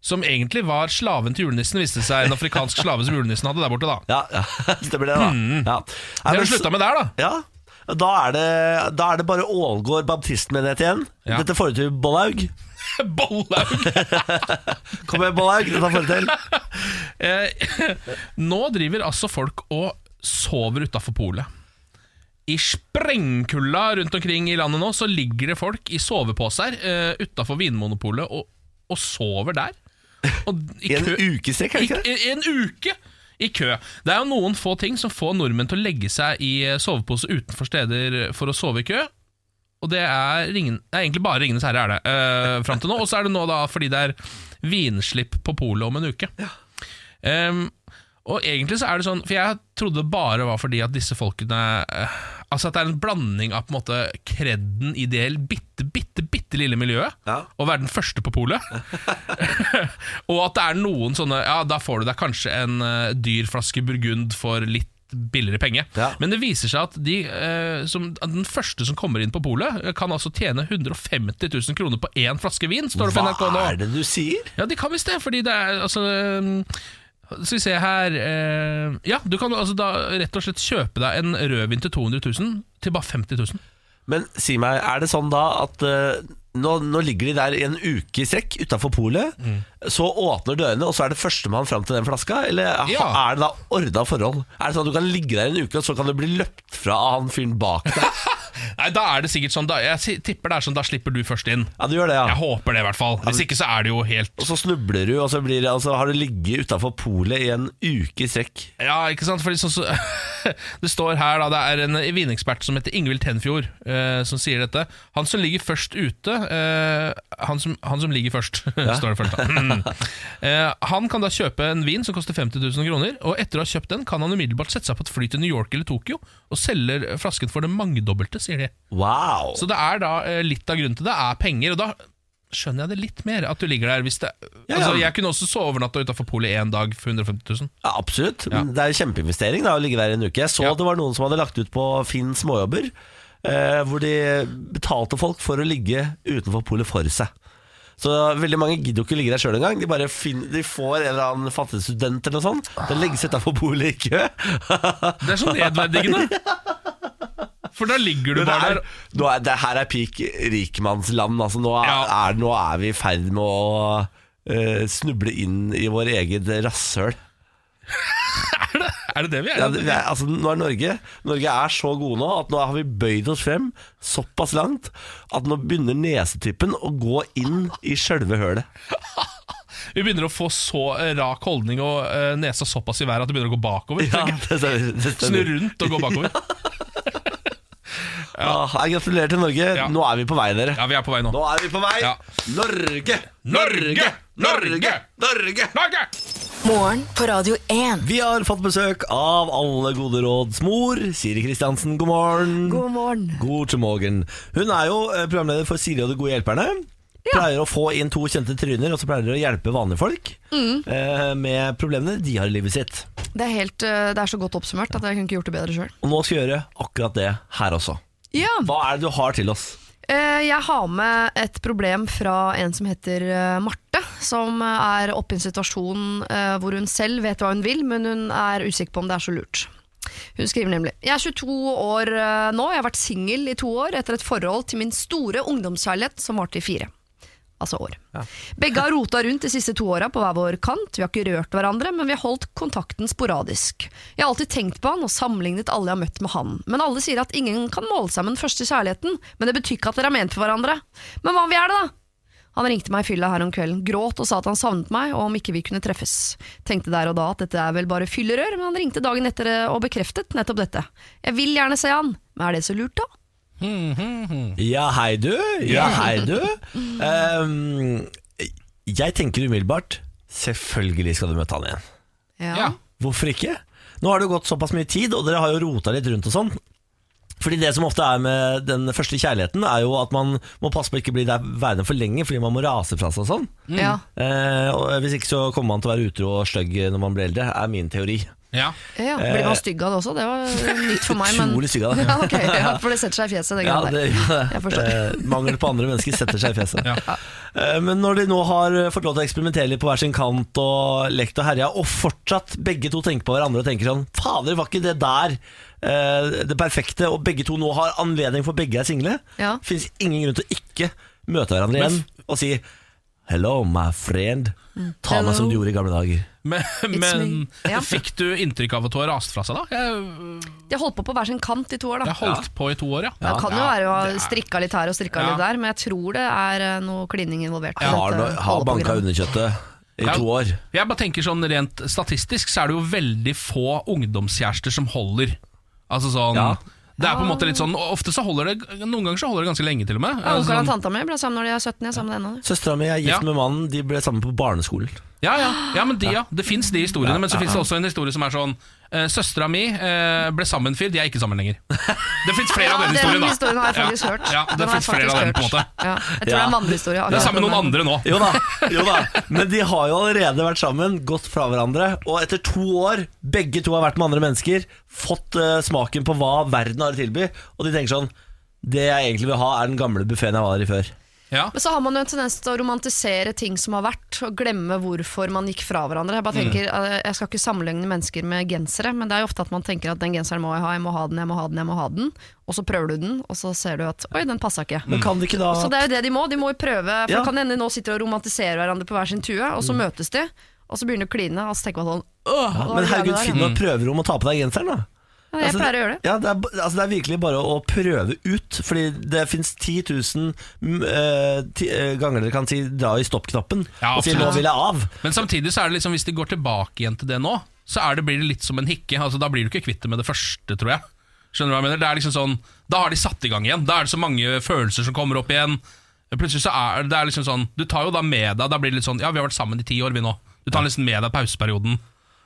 Speaker 2: Som egentlig var slaven til julenissen, viste det seg. En afrikansk slave som julenissen hadde der borte. da
Speaker 1: ja, ja stemmer det da ja. Nei,
Speaker 2: Mm. De
Speaker 1: men
Speaker 2: har
Speaker 1: så-
Speaker 2: slutta med der, da.
Speaker 1: Ja da er, det, da er det bare Ålgård baptistmenighet igjen
Speaker 2: Ja.
Speaker 1: Dette får du til Bollaug
Speaker 2: Bollaug!
Speaker 1: Kom igjen Bollaug, dette får du til
Speaker 2: Eh, Nå driver altså folk og sover utafor polet. I sprengkulda rundt omkring i landet nå Så ligger det folk i soveposer eh, utafor Vinmonopolet og, og sover der. Og
Speaker 1: I en
Speaker 2: kø-
Speaker 1: ukestrek, er det ikke det?
Speaker 2: I, i en uke i kø. Det er jo noen få ting som får nordmenn til å legge seg i eh, sovepose utenfor steder for å sove i kø. Og det er, ringen, det er egentlig bare Ringenes herre er det eh, fram til nå. Og så er det nå da fordi det er vinslipp på polet om en uke. Ehm, og egentlig så er det sånn For jeg trodde det bare var fordi at disse folkene eh, Altså at det er en blanding av på en måte kredden i det bitte, bitte, bitte lille miljøet.
Speaker 1: Ja.
Speaker 2: Å være den første på polet. og at det er noen sånne Ja, da får du deg kanskje en eh, dyr flaske burgund for litt billigere penge.
Speaker 1: Ja.
Speaker 2: Men det viser seg at, de, eh, som, at den første som kommer inn på polet, eh, kan altså tjene 150 000 kroner på én flaske vin, står det på NRK nå.
Speaker 1: Hva er det du sier?
Speaker 2: Ja, de kan visst det, fordi det er altså um, Skal vi se her eh, Ja, du kan altså da rett og slett kjøpe deg en rødvin til 200 000 til bare 50 000.
Speaker 1: Men si meg, er det sånn da at eh, nå, nå ligger de der i en uke i strekk utafor polet. Så åpner dørene, og så er det førstemann fram til den flaska? Eller ha-
Speaker 2: Ja.
Speaker 1: er det da ordna forhold? Er det sånn at du kan ligge der i en uke, og så kan du bli løpt fra av han fyren bak deg?
Speaker 2: Nei, da er det sikkert sånn da, Jeg si- tipper det er sånn, da slipper du først inn.
Speaker 1: Ja, du gjør det,
Speaker 2: Jeg
Speaker 1: ja.
Speaker 2: håper det, i hvert fall. Hvis ikke så er det jo helt
Speaker 1: Og så snubler du, og så blir det, altså, har du ligget utafor polet i en uke i strekk.
Speaker 2: Ja, ikke sant? Fordi sånn så, Det står her, da. Det er en eh, vinekspert som heter Ingvild Tenfjord, eh, som sier dette. Han som ligger først ute eh, han, som, han som ligger først, står det først. da. Mm. Eh, han kan da kjøpe en vin som koster 50 000 kroner, og etter å ha kjøpt den, kan han umiddelbart sette seg på et fly til New York eller Tokyo og selger flasken for det mangedobbelte, sier de.
Speaker 1: Wow!
Speaker 2: Så det er da eh, litt av grunnen til det er penger, og da skjønner jeg det litt mer at du ligger der hvis det
Speaker 1: Ja, ja.
Speaker 2: Altså, jeg kunne også sovernatta utafor polet én dag for 150 000.
Speaker 1: Ja, absolutt. Men Det er en kjempeinvestering da, å ligge der i en uke. Jeg så
Speaker 2: Ja.
Speaker 1: det var noen som hadde lagt ut på Finn småjobber, eh, hvor de betalte folk for å ligge utenfor polet for seg. Så veldig mange gidder jo ikke ligge der sjøl engang. De bare finner, de får en eller annen fattig student eller noe sånt. Den legges utafor polet i kø.
Speaker 2: Det er så nedverdigende. For da ligger du
Speaker 1: Men det
Speaker 2: bare
Speaker 1: er,
Speaker 2: der.
Speaker 1: nå er, det her er peak rikmannsland. Altså, nå, er,
Speaker 2: Ja.
Speaker 1: er, nå er vi i ferd med å eh, snuble inn i vår eget rasshøl.
Speaker 2: Er det det vi
Speaker 1: ja,
Speaker 2: er?
Speaker 1: det, vi er, altså, nå er Norge Norge er så gode nå at nå har vi bøyd oss frem såpass langt at nå begynner nesetippen å gå inn i sjølve hølet.
Speaker 2: Vi begynner å få så eh, rak holdning og eh, nesa såpass i været at det begynner å gå bakover.
Speaker 1: Ja, det stemmer. Det
Speaker 2: Snu
Speaker 1: stemmer.
Speaker 2: rundt og gå bakover.
Speaker 1: Ah, jeg gratulerer til Norge.
Speaker 2: Ja.
Speaker 1: Nå er vi på vei, dere.
Speaker 2: Ja, vi er på vei nå.
Speaker 1: Nå er vi på vei.
Speaker 2: Ja.
Speaker 1: Norge!
Speaker 2: Norge!
Speaker 1: Norge!
Speaker 2: Norge!
Speaker 1: Norge!
Speaker 2: Norge!
Speaker 3: Morgen på Radio 1.
Speaker 1: Vi har fått besøk av alle gode råds mor, Siri Kristiansen. God morgen.
Speaker 4: God morgen.
Speaker 1: God til morgen. Hun er jo eh, programleder for Siri og de gode hjelperne. Pleier å få inn to kjente tryner, og så pleier de å hjelpe vanlige folk eh, med problemene de har i livet sitt.
Speaker 4: Det er, helt, eh, det er så godt oppsummert at jeg kunne ikke gjort det bedre sjøl.
Speaker 1: Og nå skal vi gjøre akkurat det her også.
Speaker 4: Ja.
Speaker 1: Hva er det du har til oss?
Speaker 4: Eh, Jeg har med et problem fra en som heter eh, Marte, som er oppe i en situasjon eh, hvor hun selv vet hva hun vil, men hun er usikker på om det er så lurt. Hun skriver nemlig Jeg er 22 år eh, nå, jeg har vært singel i to år etter et forhold til min store ungdomskjærlighet som varte i fire. altså år. Begge har rota rundt de siste to åra på hver vår kant. Vi har ikke rørt hverandre, men vi har holdt kontakten sporadisk. Jeg har alltid tenkt på han og sammenlignet alle jeg har møtt med han. Men alle sier at ingen kan måle seg med den første kjærligheten, men det betyr ikke at dere er ment for hverandre. Men hva om vi er det, da? Han ringte meg i fylla her om kvelden, gråt og sa at han savnet meg, og om ikke vi kunne treffes. Tenkte der og da at dette er vel bare fyllerør, men han ringte dagen etter og bekreftet nettopp dette. Jeg vil gjerne se han, men er det så lurt, da?
Speaker 1: Ja, hei du. Ja, hei du. Ehm, jeg tenker umiddelbart Selvfølgelig skal du møte han igjen.
Speaker 2: Ja.
Speaker 1: Hvorfor ikke? Nå har det jo gått såpass mye tid, og dere har jo rota litt rundt og sånn. Fordi Det som ofte er med den første kjærligheten, er jo at man må passe på å ikke bli der værende for lenge fordi man må rase fra seg og sånn.
Speaker 4: Ja.
Speaker 1: Eh, og Hvis ikke så kommer man til å være utro og stygg når man blir eldre, er min teori.
Speaker 2: Ja.
Speaker 4: Ja, Blir man stygg av det også? Det var nytt for meg. Men...
Speaker 1: Utrolig stygg av det.
Speaker 4: Ja, ok, ja, for det setter seg i fjeset, det
Speaker 1: Ja,
Speaker 4: greia
Speaker 1: det,
Speaker 4: der. Jeg forstår.
Speaker 1: eh, mangel på andre mennesker setter seg i fjeset. Eh, Men når de nå har fått lov til å eksperimentere litt på hver sin kant og lekt og herja, og fortsatt begge to tenker på hverandre og tenker sånn Fader, var ikke det der eh, det perfekte? Og begge to nå har anledning, for begge er single.
Speaker 4: Ja.
Speaker 1: Fins ingen grunn til å ikke møte hverandre igjen og si Hello, my friend.
Speaker 4: Mm.
Speaker 1: Ta meg som du gjorde i gamle dager.
Speaker 2: Men, men
Speaker 4: me. Ja.
Speaker 2: fikk du inntrykk av at hun har rast fra seg, da? Jeg,
Speaker 4: De har holdt på på hver sin kant i to år, da.
Speaker 2: jeg holdt på i to år, ja.
Speaker 4: Det kan jo være å
Speaker 2: det er-
Speaker 4: ha strikka litt her og strikka
Speaker 2: Ja.
Speaker 4: litt der, men jeg tror det er eh, noe klining involvert. eh, i
Speaker 1: Jeg har,
Speaker 4: dette
Speaker 1: no- har banka
Speaker 4: holdeprogrammet.
Speaker 1: underkjøttet i
Speaker 2: Ja.
Speaker 1: to år.
Speaker 2: Jeg bare tenker sånn Rent statistisk så er det jo veldig få ungdomskjærester som holder. Altså sånn
Speaker 1: Ja.
Speaker 2: Det er på en måte litt sånn og Ofte så holder det Noen ganger så holder det ganske lenge, til og med.
Speaker 4: Ja,
Speaker 2: Altså
Speaker 4: Onkelen og
Speaker 2: sånn,
Speaker 4: tanta mi ble sammen når de er 17, jeg er sammen med henne.
Speaker 1: Søstera mi er gift
Speaker 2: Ja.
Speaker 1: med mannen, de ble sammen på barneskolen.
Speaker 2: ja, ja, ja, men de, ja. Det fins de historiene, men så fins det også en historie som er sånn eh, Søstera mi eh, ble sammen fyr, de er ikke sammen lenger. Det fins flere
Speaker 4: Ja,
Speaker 2: av den historien,
Speaker 4: den
Speaker 2: da.
Speaker 4: historien har jeg faktisk
Speaker 2: Ja.
Speaker 4: hørt.
Speaker 2: Ja, det
Speaker 4: Den har jeg
Speaker 2: finnes flere
Speaker 4: faktisk
Speaker 2: av dem, på en
Speaker 4: hørt.
Speaker 2: måte.
Speaker 4: Ja, jeg
Speaker 1: Ja.
Speaker 4: tror det er en mannhistorie.
Speaker 2: Det er sammen med noen andre nå.
Speaker 1: Jo da, jo da, men de har jo allerede vært sammen, gått fra hverandre, og etter to år, begge to har vært med andre mennesker, fått eh, smaken på hva verden har å tilby, og de tenker sånn Det jeg egentlig vil ha, er den gamle buffeen jeg var i før.
Speaker 2: Ja.
Speaker 4: Men så har man jo en tendens til å romantisere ting som har vært, og glemme hvorfor man gikk fra hverandre. Jeg bare tenker, eh, jeg skal ikke sammenligne mennesker med gensere, men det er jo ofte at man tenker at den genseren må jeg ha, jeg må ha den, jeg må ha den, jeg må ha den. Og så prøver du den, og så ser du at oi, den passa ikke.
Speaker 1: Men kan de ikke da
Speaker 4: Så det er jo det de må, de må jo prøve. For
Speaker 1: Mm. Ja.
Speaker 4: det kan hende de nå sitter og romantiserer hverandre på hver sin tue, og så møtes de, og så begynner de å kline, og så tenker man sånn åh, hva var
Speaker 1: Men
Speaker 4: det
Speaker 1: herregud,
Speaker 4: der, ja?»
Speaker 1: finn noe prøverom og ta på deg genseren, da.
Speaker 4: Ja, Jeg pleier å gjøre det.
Speaker 1: Ja, Altså, det, er, b- altså det er virkelig bare å prøve ut, fordi det fins 10 000 mm, eh, ti, eh, ganger dere kan si dra i stoppknappen
Speaker 2: Ja,
Speaker 1: og si
Speaker 2: absolutt.
Speaker 1: 'nå vil jeg av'.
Speaker 2: Men samtidig så er det liksom hvis de går tilbake igjen til det nå, så er det, blir det litt som en hikke. Altså, da blir du ikke kvitt det med det første, tror jeg. Skjønner du hva jeg mener? Det er liksom sånn, Da har de satt i gang igjen. Da er det så mange følelser som kommer opp igjen. Plutselig så er det er liksom sånn Du tar jo da med deg Da blir det litt sånn Ja, vi har vært sammen i ti år, vi nå. Du tar liksom med deg pauseperioden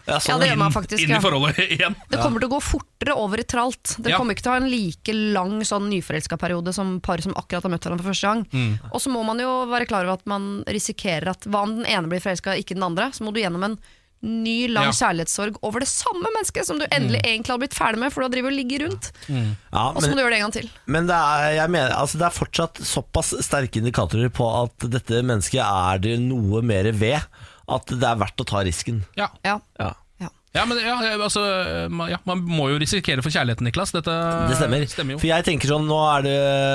Speaker 1: Ja,
Speaker 4: Ja,
Speaker 1: sånn,
Speaker 4: det gjør man
Speaker 2: inn,
Speaker 4: faktisk.
Speaker 2: inn i
Speaker 4: Ja.
Speaker 2: forholdet igjen.
Speaker 4: Det kommer til å gå fortere over i tralt. Dere
Speaker 2: Ja.
Speaker 4: kommer ikke til å ha en like lang sånn nyforelska periode som par som akkurat har møtt hverandre for første gang.
Speaker 2: Mm.
Speaker 4: Og så må man jo være klar over at man risikerer at hva om den ene blir forelska, ikke den andre, så må du gjennom en ny, lang
Speaker 2: Ja. Mm.
Speaker 4: kjærlighetssorg over det samme mennesket som du endelig egentlig har blitt ferdig med, for du har drevet og ligget rundt.
Speaker 1: ja,
Speaker 4: Og så må du gjøre det en gang til.
Speaker 1: Men det er, jeg mener, altså det er fortsatt såpass sterke indikatorer på at dette mennesket er det noe mer ved, at det er verdt å ta risken.
Speaker 2: Ja.
Speaker 4: Ja.
Speaker 1: Ja.
Speaker 4: ja.
Speaker 2: ja, men ja, altså man- ja, Man må jo risikere for kjærligheten, Niklas. Dette
Speaker 1: Det stemmer.
Speaker 2: stemmer
Speaker 1: For
Speaker 2: jo.
Speaker 1: jeg tenker sånn, Nå er det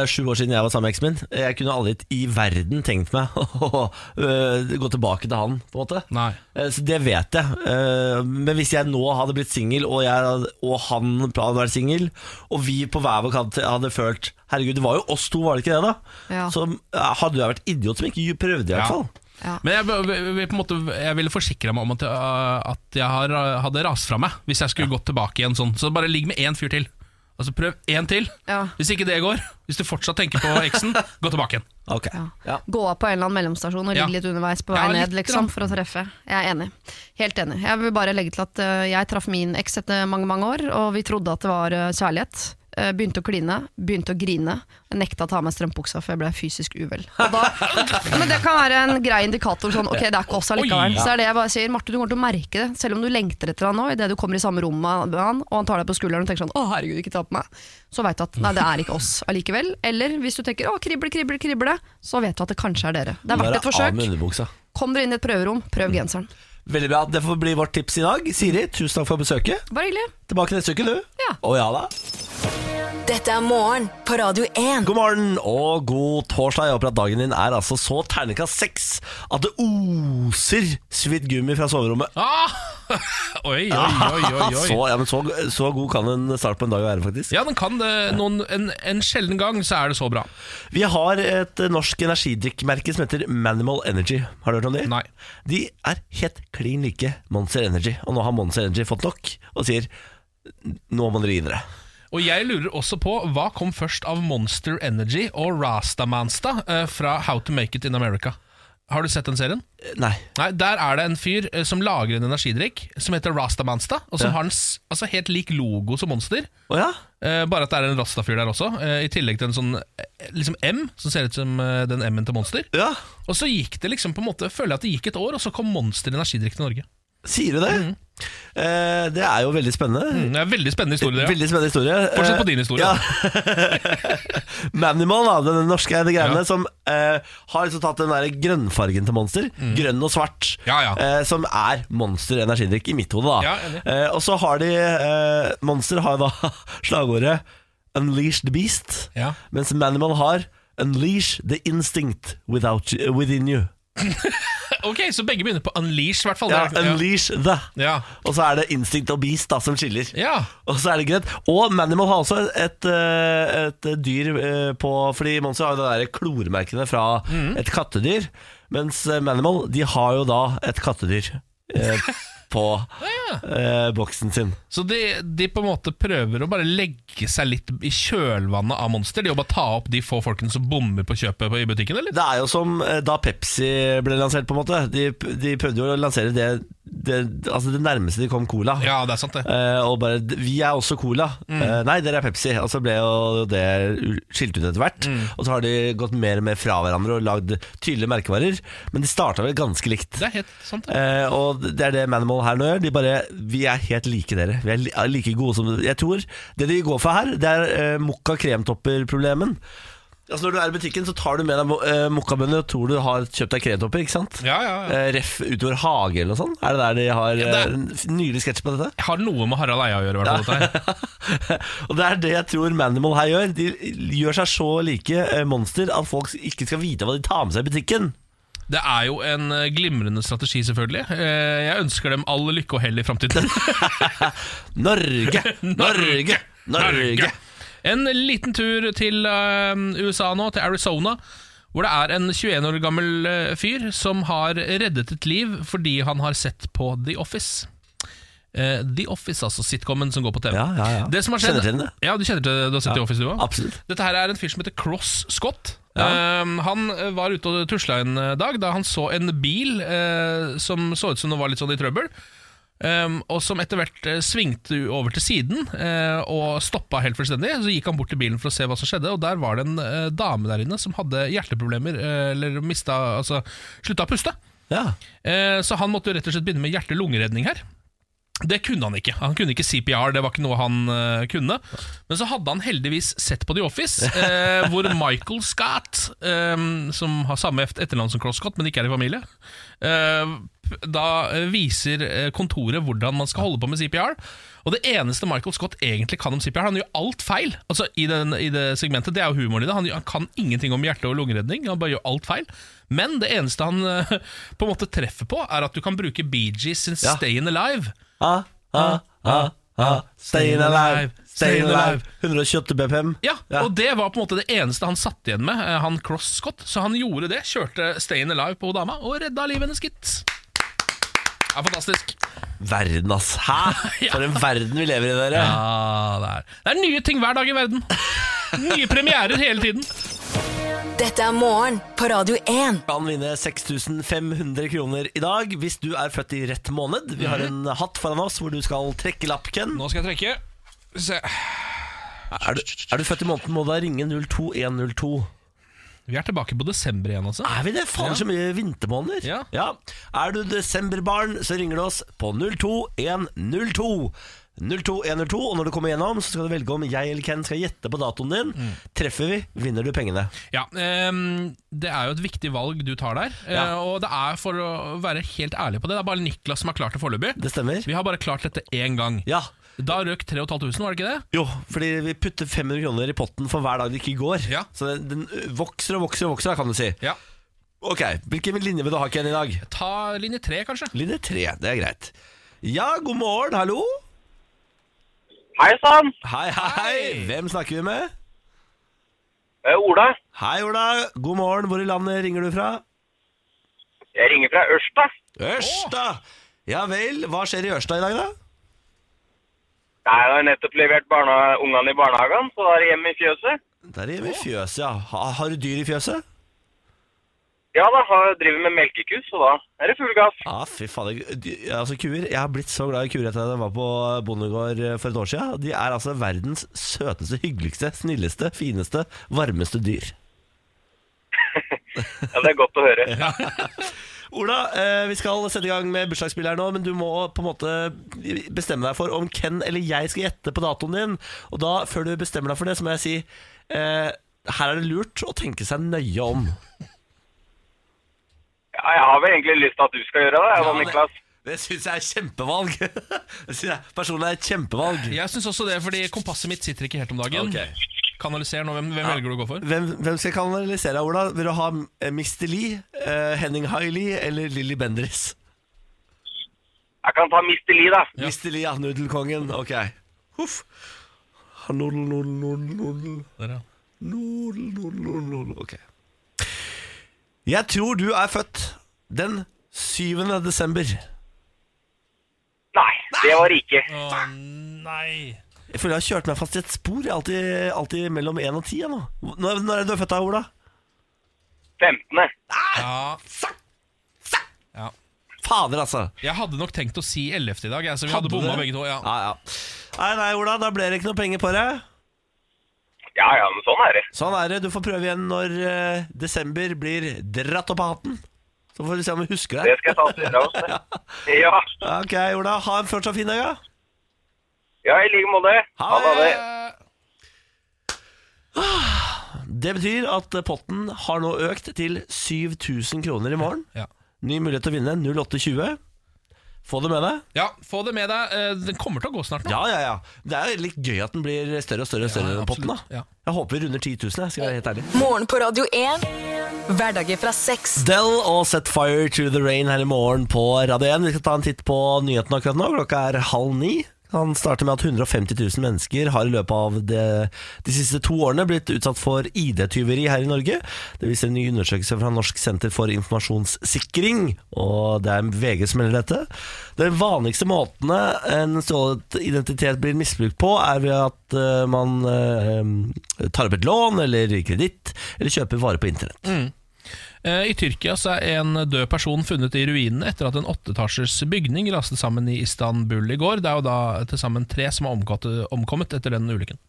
Speaker 1: sju år siden jeg var sammen med eksen min. Jeg kunne aldri i verden tenkt meg å øh, gå tilbake til han, på en måte.
Speaker 2: Nei.
Speaker 1: Eh, Så det vet jeg. Eh, Men hvis jeg nå hadde blitt singel, og, jeg hadde- og han hadde vært singel, og vi på hver vår kant hadde følt Herregud, det var jo oss to, var det ikke det, da?
Speaker 4: Ja.
Speaker 1: Så eh, hadde jeg vært idiot som ikke prøvde, i hvert
Speaker 2: Ja.
Speaker 1: fall.
Speaker 2: Men jeg, vil- vil på en måte, jeg ville forsikre meg om at jeg, at jeg har, hadde rast fra meg hvis jeg skulle gått tilbake igjen sånn. Så bare ligg med én fyr til. Altså Prøv én til.
Speaker 4: Ja.
Speaker 2: Hvis ikke det går, hvis du fortsatt tenker på eksen, gå tilbake igjen.
Speaker 1: Ok. Ja.
Speaker 4: Gå av på en eller annen mellomstasjon og
Speaker 2: Ja.
Speaker 4: ligge litt underveis på vei
Speaker 2: Ja,
Speaker 4: ned,
Speaker 2: litt,
Speaker 4: liksom,
Speaker 2: da.
Speaker 4: for å treffe. Jeg er enig. Helt enig. Jeg vil bare legge til at eh, jeg traff min eks etter mange, mange år, og vi trodde at det var eh, kjærlighet. Eh, Begynte å kline, begynte å grine. Jeg nekta å ta av meg strømpuksa, for jeg ble fysisk uvel. Og da, Ja, men det kan være en grei indikator. Sånn, ok, det er ikke oss allikevel.
Speaker 2: Oi.
Speaker 4: Så er det jeg bare sier, Marte, du kommer til å merke det, selv om du lengter etter han nå, idet du kommer i samme rom med han, og han tar deg på skulderen og tenker sånn 'Å, herregud, ikke ta på meg', så veit du at 'nei, det er ikke oss allikevel'. Eller hvis du tenker 'Å, krible, krible, krible', så vet du at det kanskje er dere. Det er
Speaker 1: Bare
Speaker 4: verdt
Speaker 1: Av
Speaker 4: et
Speaker 1: med
Speaker 4: forsøk.
Speaker 1: underbuksa.
Speaker 4: Kom dere inn i et prøverom, prøv genseren.
Speaker 1: Veldig bra. Det får bli vårt tips i dag. Siri, tusen takk for besøket.
Speaker 4: Bare hyggelig.
Speaker 1: Tilbake neste uke, du.
Speaker 4: Ja.
Speaker 1: Å ja da.
Speaker 3: Dette er morgen på Radio 1.
Speaker 1: God morgen og god torsdag. Jeg håper at dagen din er altså så ternekast seks at det oser svidd gummi fra soverommet.
Speaker 2: Ah! Oi, oi, oi, oi, oi.
Speaker 1: Så, ja, men så, så god kan en start på en dag være, faktisk.
Speaker 2: Ja, den kan det. Noen, en, en sjelden gang så er det så bra.
Speaker 1: Vi har et eh, norsk energidrikkmerke som heter Manimal Energy. Har du hørt om det?
Speaker 2: Nei.
Speaker 1: De er helt klin like Monster Energy, og nå har Monster Energy fått nok og sier nå må dere gi dere.
Speaker 2: Og jeg lurer også på hva kom først av Monster Energy og Rastamansta eh, fra How to Make It in America. Har du sett den serien?
Speaker 1: Nei.
Speaker 2: Nei, Der er det en fyr eh, som lager en energidrikk som heter Rastamansta, og som
Speaker 1: Ja.
Speaker 2: har en s- altså, helt lik logo som Monster.
Speaker 1: Å ja?
Speaker 2: Eh, bare at det er en Rasta-fyr der også, eh, i tillegg til en sånn eh, liksom M, som ser ut som eh, den M-en til Monster.
Speaker 1: Ja.
Speaker 2: Og så gikk det liksom på en måte, føler jeg at det gikk et år, og så kom Monster energidrikk til Norge.
Speaker 1: Sier du det? Eh, det er jo veldig spennende.
Speaker 2: Mm, det er en Veldig spennende historie. det, Ja.
Speaker 1: Veldig spennende historie.
Speaker 2: Fortsett
Speaker 1: Eh,
Speaker 2: på din historie.
Speaker 1: Manimal, da, den norske ene greiene
Speaker 2: Ja.
Speaker 1: som eh, har liksom tatt den der grønnfargen til Monster. Grønn og svart.
Speaker 2: Mm. Ja, ja.
Speaker 1: eh, som er Monster energidrikk i mitt hode. da
Speaker 2: Ja, enig.
Speaker 1: eh, Og så har de eh, Monster har da slagordet 'Unleash the Beast',
Speaker 2: Ja.
Speaker 1: mens Manimal har 'Unleash the Instinct without you, within you'.
Speaker 2: Ok, så begge begynner på Unleash, i hvert fall.
Speaker 1: Ja,
Speaker 2: Det er- ja.
Speaker 1: 'Unleash the'.
Speaker 2: Ja.
Speaker 1: Og så er det Instinct og Beast da som skiller.
Speaker 2: Ja.
Speaker 1: Og så er det greit Og Manimal har også et, eh, et dyr eh, på Fordi Monster har jo det der klormerkene fra et kattedyr Mens eh, Manimal, de har jo da et kattedyr eh, På eh, boksen sin
Speaker 2: Så de, de på en måte prøver å bare legge seg litt i kjølvannet av Monster? De jobber å ta opp de få folkene som bommer på kjøpet på, i butikken, eller?
Speaker 1: Det er jo som eh, da Pepsi ble lansert på en måte De, de prøvde jo å lansere det, det Altså det nærmeste de kom cola
Speaker 2: Ja, det er sant, det.
Speaker 1: Eh, og bare, "D- vi er også cola
Speaker 2: Mm.
Speaker 1: Eh, Nei, dere er Pepsi Og så ble jo det u- skilt ut etter hvert
Speaker 2: Mm.
Speaker 1: Og så har de gått mer og mer fra hverandre Og lagd tydelige merkevarer Men de startet vel ganske likt
Speaker 2: Det er helt sant, det.
Speaker 1: Eh, og det er det Manimal her nå gjør De bare, vi er helt like dere Vi er li- er like gode som Jeg tror det de går for her Det er eh, mokka kremtopper-problemen Altså når du er i butikken så tar du med deg uh, mokkabønner Og tror du har kjøpt deg kremtopper, ikke sant?
Speaker 2: Ja, ja, ja.
Speaker 1: Eh, Ref utover hage eller noe sånt Er det der de har
Speaker 2: Ja,
Speaker 1: ja,
Speaker 2: det-
Speaker 1: nylig sketsj på dette?
Speaker 2: Jeg har noe med Harald Eia å gjøre, i hvert fall. dette her.
Speaker 1: og det er det jeg tror Manimal her gjør. De gjør seg så like eh, monster at folk ikke skal vite hva de tar med seg i butikken.
Speaker 2: Det er jo en eh, glimrende strategi, selvfølgelig. Eh, Jeg ønsker dem all lykke og hell i framtiden.
Speaker 1: Norge, Norge, Norge.
Speaker 2: En liten tur til eh, USA nå, til Arizona. Hvor det er en 21 år gammel eh, fyr som har reddet et liv fordi han har sett på The Office. Eh, The Office, altså sitcomen som går på TV.
Speaker 1: Ja, ja, ja.
Speaker 2: Det som har skjedd,
Speaker 1: Kjenner til den, det.
Speaker 2: Ja, du kjenner til Du har sett The Office, du òg?
Speaker 1: Absolutt.
Speaker 2: Dette her er en fyr som heter Cross Scott. Eh, han eh, var ute og tusla en eh, dag da han så en bil eh, som så ut som den var litt sånn i trøbbel. Um, og som etter hvert eh, svingte over til siden eh, og stoppa helt fullstendig. Så gikk han bort til bilen for å se hva som skjedde, og der var det en eh, dame der inne som hadde hjerteproblemer, eh, eller mista Altså slutta å puste.
Speaker 1: Ja.
Speaker 2: Eh, så han måtte jo rett og slett begynne med hjerte-lungeredning her. Det kunne han ikke. Han kunne ikke CPR, det var ikke noe han eh, kunne. Men så hadde han heldigvis sett på The Office, eh, hvor Michael Scott, eh, som har samme eft- etternavn som Cross Scott, men ikke er i familie, eh, p- da eh, viser eh, kontoret hvordan man skal holde på med CPR. Og det eneste Michael Scott egentlig kan om CPR, han gjør alt feil Altså i, den, i det segmentet, det er jo humoren i det. Han, han kan ingenting om hjerte- og lungeredning, han bare gjør alt feil. Men det eneste han eh, på en måte treffer på, er at du kan bruke Bee Gees sin
Speaker 1: Ja.
Speaker 2: Stayin' Alive.
Speaker 1: Ah, ah, ah, ah. Stayin' alive, stayin' alive. 128 BPM.
Speaker 2: Ja, og det var på en måte det eneste han satt igjen med, eh, han Cross Scott. Så han gjorde det, kjørte Stayin' Alive på dama og redda livet hennes, gitt. Det er fantastisk.
Speaker 1: Verden, ass. Hæ? For en verden vi lever i, dere.
Speaker 2: Ja, Ah, det, er. det er nye ting hver dag i verden. Nye premierer hele tiden.
Speaker 3: Dette er morgen på Radio 1.
Speaker 1: kan vinne 6500 kroner i dag hvis du er født i rett måned. Vi
Speaker 2: Mhm.
Speaker 1: har en hatt foran oss hvor du skal trekke lapp, Ken.
Speaker 2: Nå skal jeg trekke. Se.
Speaker 1: Er du, er du født i måneden, må du da ringe 02102.
Speaker 2: Vi er tilbake på desember igjen, altså.
Speaker 1: Er vi det? Faen, så mye vintermåneder.
Speaker 2: Ja.
Speaker 1: Er du desemberbarn, så ringer du oss på 02102. 02102, og når du kommer gjennom, så skal du velge om jeg eller Ken skal gjette på datoen din. Treffer vi, vinner du pengene.
Speaker 2: Ja, ehm, Det er jo et viktig valg du tar der. eh,
Speaker 1: Ja.
Speaker 2: Og det er for å være helt ærlig på det, det er bare Niklas som har klart det foreløpig.
Speaker 1: Det stemmer?
Speaker 2: Vi har bare klart dette én gang.
Speaker 1: Ja.
Speaker 2: Da røk 3500, var det ikke det?
Speaker 1: Jo, fordi vi putter 500 kroner i potten for hver dag det ikke går.
Speaker 2: Ja.
Speaker 1: Så den, den ø, vokser og vokser og vokser, kan du si.
Speaker 2: Ja.
Speaker 1: Ok, Hvilken linje vil du ha igjen i dag?
Speaker 2: Ta linje tre, kanskje.
Speaker 1: Linje tre, det er greit. Ja, god morgen, hallo.
Speaker 5: Hei sann!
Speaker 1: Hei, hei, hei. Hvem snakker vi med?
Speaker 5: Eh, Ola.
Speaker 1: Hei, Ola. God morgen. Hvor i landet ringer du fra?
Speaker 5: Jeg ringer fra Ørsta.
Speaker 1: Ørsta. Ja vel. Hva skjer i Ørsta i dag, da?
Speaker 5: Nei, Jeg har nettopp levert barna, ungene i barnehagen, så da er jeg hjemme i fjøset.
Speaker 1: Der hjemme i fjøset, ja. Ha, har du dyr i fjøset?
Speaker 5: Ja da, har- driver med melkeku, så da er det full gass.
Speaker 1: Ja, fy fader. Dy- Altså, kuer. Jeg har blitt så glad i kuer etter at jeg var på bondegård eh, for et år siden. De er altså verdens søteste, hyggeligste, snilleste, fineste, varmeste dyr.
Speaker 5: Ja, Det er godt å høre.
Speaker 1: Ola, eh, vi skal sette i gang med bursdagsspill her nå, men du må på en måte bestemme deg for om Ken eller jeg skal gjette på datoen din. Og da, før du bestemmer deg for det, så må jeg si eh, her er det lurt å tenke seg nøye om.
Speaker 5: Ja, Jeg har vel egentlig lyst til at du skal gjøre det, jeg da,
Speaker 1: Ja, det-
Speaker 5: Niklas.
Speaker 1: Det syns jeg er kjempevalg. Det synes jeg Personlig er et kjempevalg.
Speaker 2: Jeg syns også det, fordi kompasset mitt sitter ikke helt om dagen.
Speaker 1: Ok.
Speaker 2: Kanaliser nå, hvem, hvem velger du å gå for?
Speaker 1: Hvem, hvem skal jeg kanalisere, Ola? Vil du ha eh, Mr. Lee, eh, Henning Hailey eller Lilly Bendriss?
Speaker 5: Jeg kan ta Mr. Lee, da.
Speaker 1: Mr. Lee, ja. Nudelkongen. Ok. Huff. Ha Nudel, nudel, nudel, nudel.
Speaker 2: Der, ja.
Speaker 1: Nudel, nudel, nudel, nudel. Ok. Jeg tror du er født den 7. desember.
Speaker 5: Nei, det var det ikke.
Speaker 2: Å, nei
Speaker 1: Jeg føler jeg har kjørt meg fast i et spor. Jeg er alltid, alltid mellom 1 og 10 jeg, nå. Når, når er det du er født da, Ola?
Speaker 5: 15.
Speaker 2: ja. ja.
Speaker 1: Fader, altså.
Speaker 2: Jeg hadde nok tenkt å si 11. i dag, jeg, så vi hadde
Speaker 1: du
Speaker 2: bomma
Speaker 1: det?
Speaker 2: begge to. Ja.
Speaker 1: Ja, ja. Nei, nei, Ola, da ble det ikke noe penger på det.
Speaker 5: Ja ja, men sånn er det.
Speaker 1: Sånn er det. Du får prøve igjen når eh, desember blir dratt opp av hatten. Så får vi se om vi husker
Speaker 5: Det
Speaker 1: det.
Speaker 5: skal jeg ta til dere også. det. Ja,
Speaker 1: Ok, Ola. Ha en fortsatt fin dag, ja.
Speaker 5: ja i like måte. Ha det.
Speaker 2: Eh,
Speaker 1: Det betyr at eh, potten har nå økt til 7000 kroner i morgen.
Speaker 2: Ja.
Speaker 1: Ny mulighet til å vinne 0820. Få det med deg.
Speaker 2: ja, få det med deg. Eh, Den kommer til å gå snart nå.
Speaker 1: Ja, ja, ja. Det er jo litt gøy at den blir større og større, og større
Speaker 2: Ja,
Speaker 1: den potten.
Speaker 2: absolutt,
Speaker 1: da
Speaker 2: ja.
Speaker 1: Jeg håper vi runder 10 000, jeg, skal jeg være helt ærlig.
Speaker 3: Morgen på Radio 1. Hverdager fra seks.
Speaker 1: Del og Set Fire to the Rain her i morgen på Radio 1. Vi skal ta en titt på nyhetene akkurat nå. Klokka er halv ni. Han starter med at 150 000 mennesker har i løpet av det, de siste to årene blitt utsatt for ID-tyveri her i Norge. Det viser en ny undersøkelse fra Norsk senter for informasjonssikring, og det er VG som melder dette. Den vanligste måtene en stjålet identitet blir misbrukt på, er ved at eh, man eh, tar opp et lån eller kreditt, eller kjøper varer på internett.
Speaker 2: Eh, I Tyrkia så er en død person funnet i ruinene etter at en åtteetasjers bygning raste sammen i Istanbul i går. Det er jo da til sammen tre som har omgått, omkommet etter den ulykken.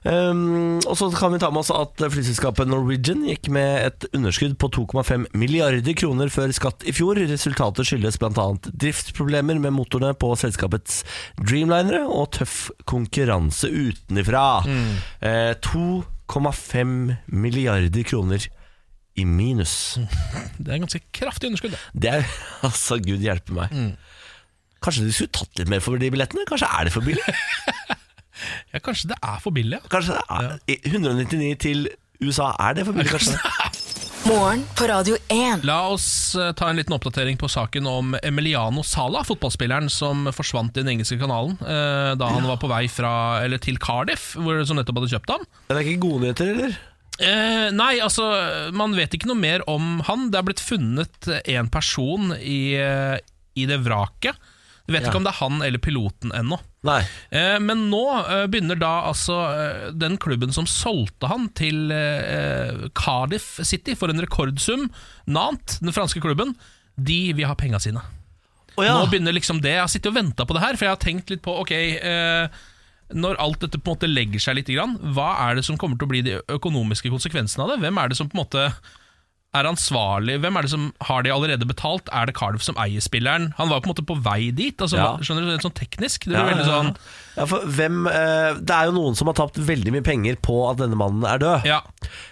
Speaker 1: Um, og så kan vi ta med oss at flyselskapet Norwegian gikk med et underskudd på 2,5 milliarder kroner før skatt i fjor. Resultatet skyldes bl.a. driftsproblemer med motorene på selskapets Dreamlinere og tøff konkurranse utenfra. Eh, 2,5 milliarder kroner i minus.
Speaker 2: Det er en ganske kraftig underskudd. det.
Speaker 1: Det er Altså, gud hjelpe meg. Kanskje du skulle tatt litt mer for de billettene? Kanskje er det for billig?
Speaker 2: Ja, Kanskje det er for billig? ja.
Speaker 1: Kanskje det er 199 til USA, er det for billig? Kanskje?
Speaker 3: Morgen på Radio 1.
Speaker 2: La oss eh, ta en liten oppdatering på saken om Emiliano Sala, fotballspilleren som forsvant i den engelske kanalen eh, da han var på vei fra, eller til Cardiff, hvor, som nettopp hadde kjøpt ham.
Speaker 1: Men det er ikke gode nyheter, eller?
Speaker 2: Eh, nei, altså, man vet ikke noe mer om han. Det er blitt funnet en person i, eh, i det vraket. Vi vet
Speaker 1: Ja.
Speaker 2: ikke om det er han eller piloten ennå.
Speaker 1: Nei.
Speaker 2: Eh, men nå eh, begynner da altså eh, den klubben som solgte han til eh, Cardiff City for en rekordsum, Nant, den franske klubben, de vil ha penga sine. Nå begynner liksom det. Jeg har sittet og venta på det her, for jeg har tenkt litt på Ok, eh, når alt dette på en måte legger seg litt, grann, hva er det som kommer til å bli de økonomiske konsekvensene av det? Hvem er det som på en måte er ansvarlig? Hvem er det som har de allerede betalt? Er det Cardiff som eier spilleren? Han var jo på en måte på vei dit. Altså,
Speaker 1: Ja.
Speaker 2: Skjønner du, det er sånn teknisk. Det blir
Speaker 1: Ja,
Speaker 2: veldig
Speaker 1: ja,
Speaker 2: sånn
Speaker 1: ja. ja, for hvem eh, Det er jo noen som har tapt veldig mye penger på at denne mannen er død.
Speaker 2: Ja.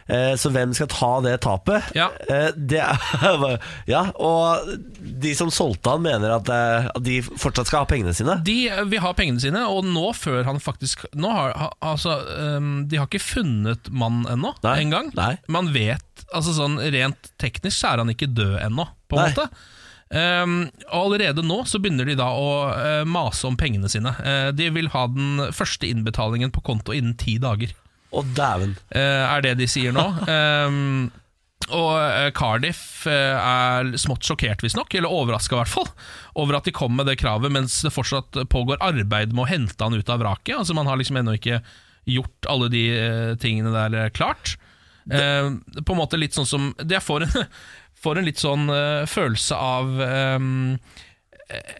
Speaker 1: Eh, så hvem skal ta det tapet?
Speaker 2: Ja.
Speaker 1: Eh, det er, ja og de som solgte han, mener at, eh, at de fortsatt skal ha pengene sine.
Speaker 2: De vil ha pengene sine, og nå før han faktisk nå har, ha, altså, ehm, De har ikke funnet mannen ennå,
Speaker 1: Nei,
Speaker 2: engang.
Speaker 1: nei.
Speaker 2: Man vet altså sånn Rent teknisk så er han ikke død ennå, på en
Speaker 1: Nei.
Speaker 2: måte. Ehm, og allerede nå så begynner de da å eh, mase om pengene sine. Eh, de vil ha den første innbetalingen på konto innen ti dager.
Speaker 1: Å, dæven.
Speaker 2: eh, er det de sier nå. Ehm, og eh, Cardiff eh, er smått sjokkert, visstnok, eller overraska i hvert fall, over at de kom med det kravet mens det fortsatt pågår arbeid med å hente han ut av vraket. Altså Man har liksom ennå ikke gjort alle de eh, tingene der eh, klart. Ehm, på en måte litt sånn som Jeg får en, får en litt sånn eh, følelse av ehm,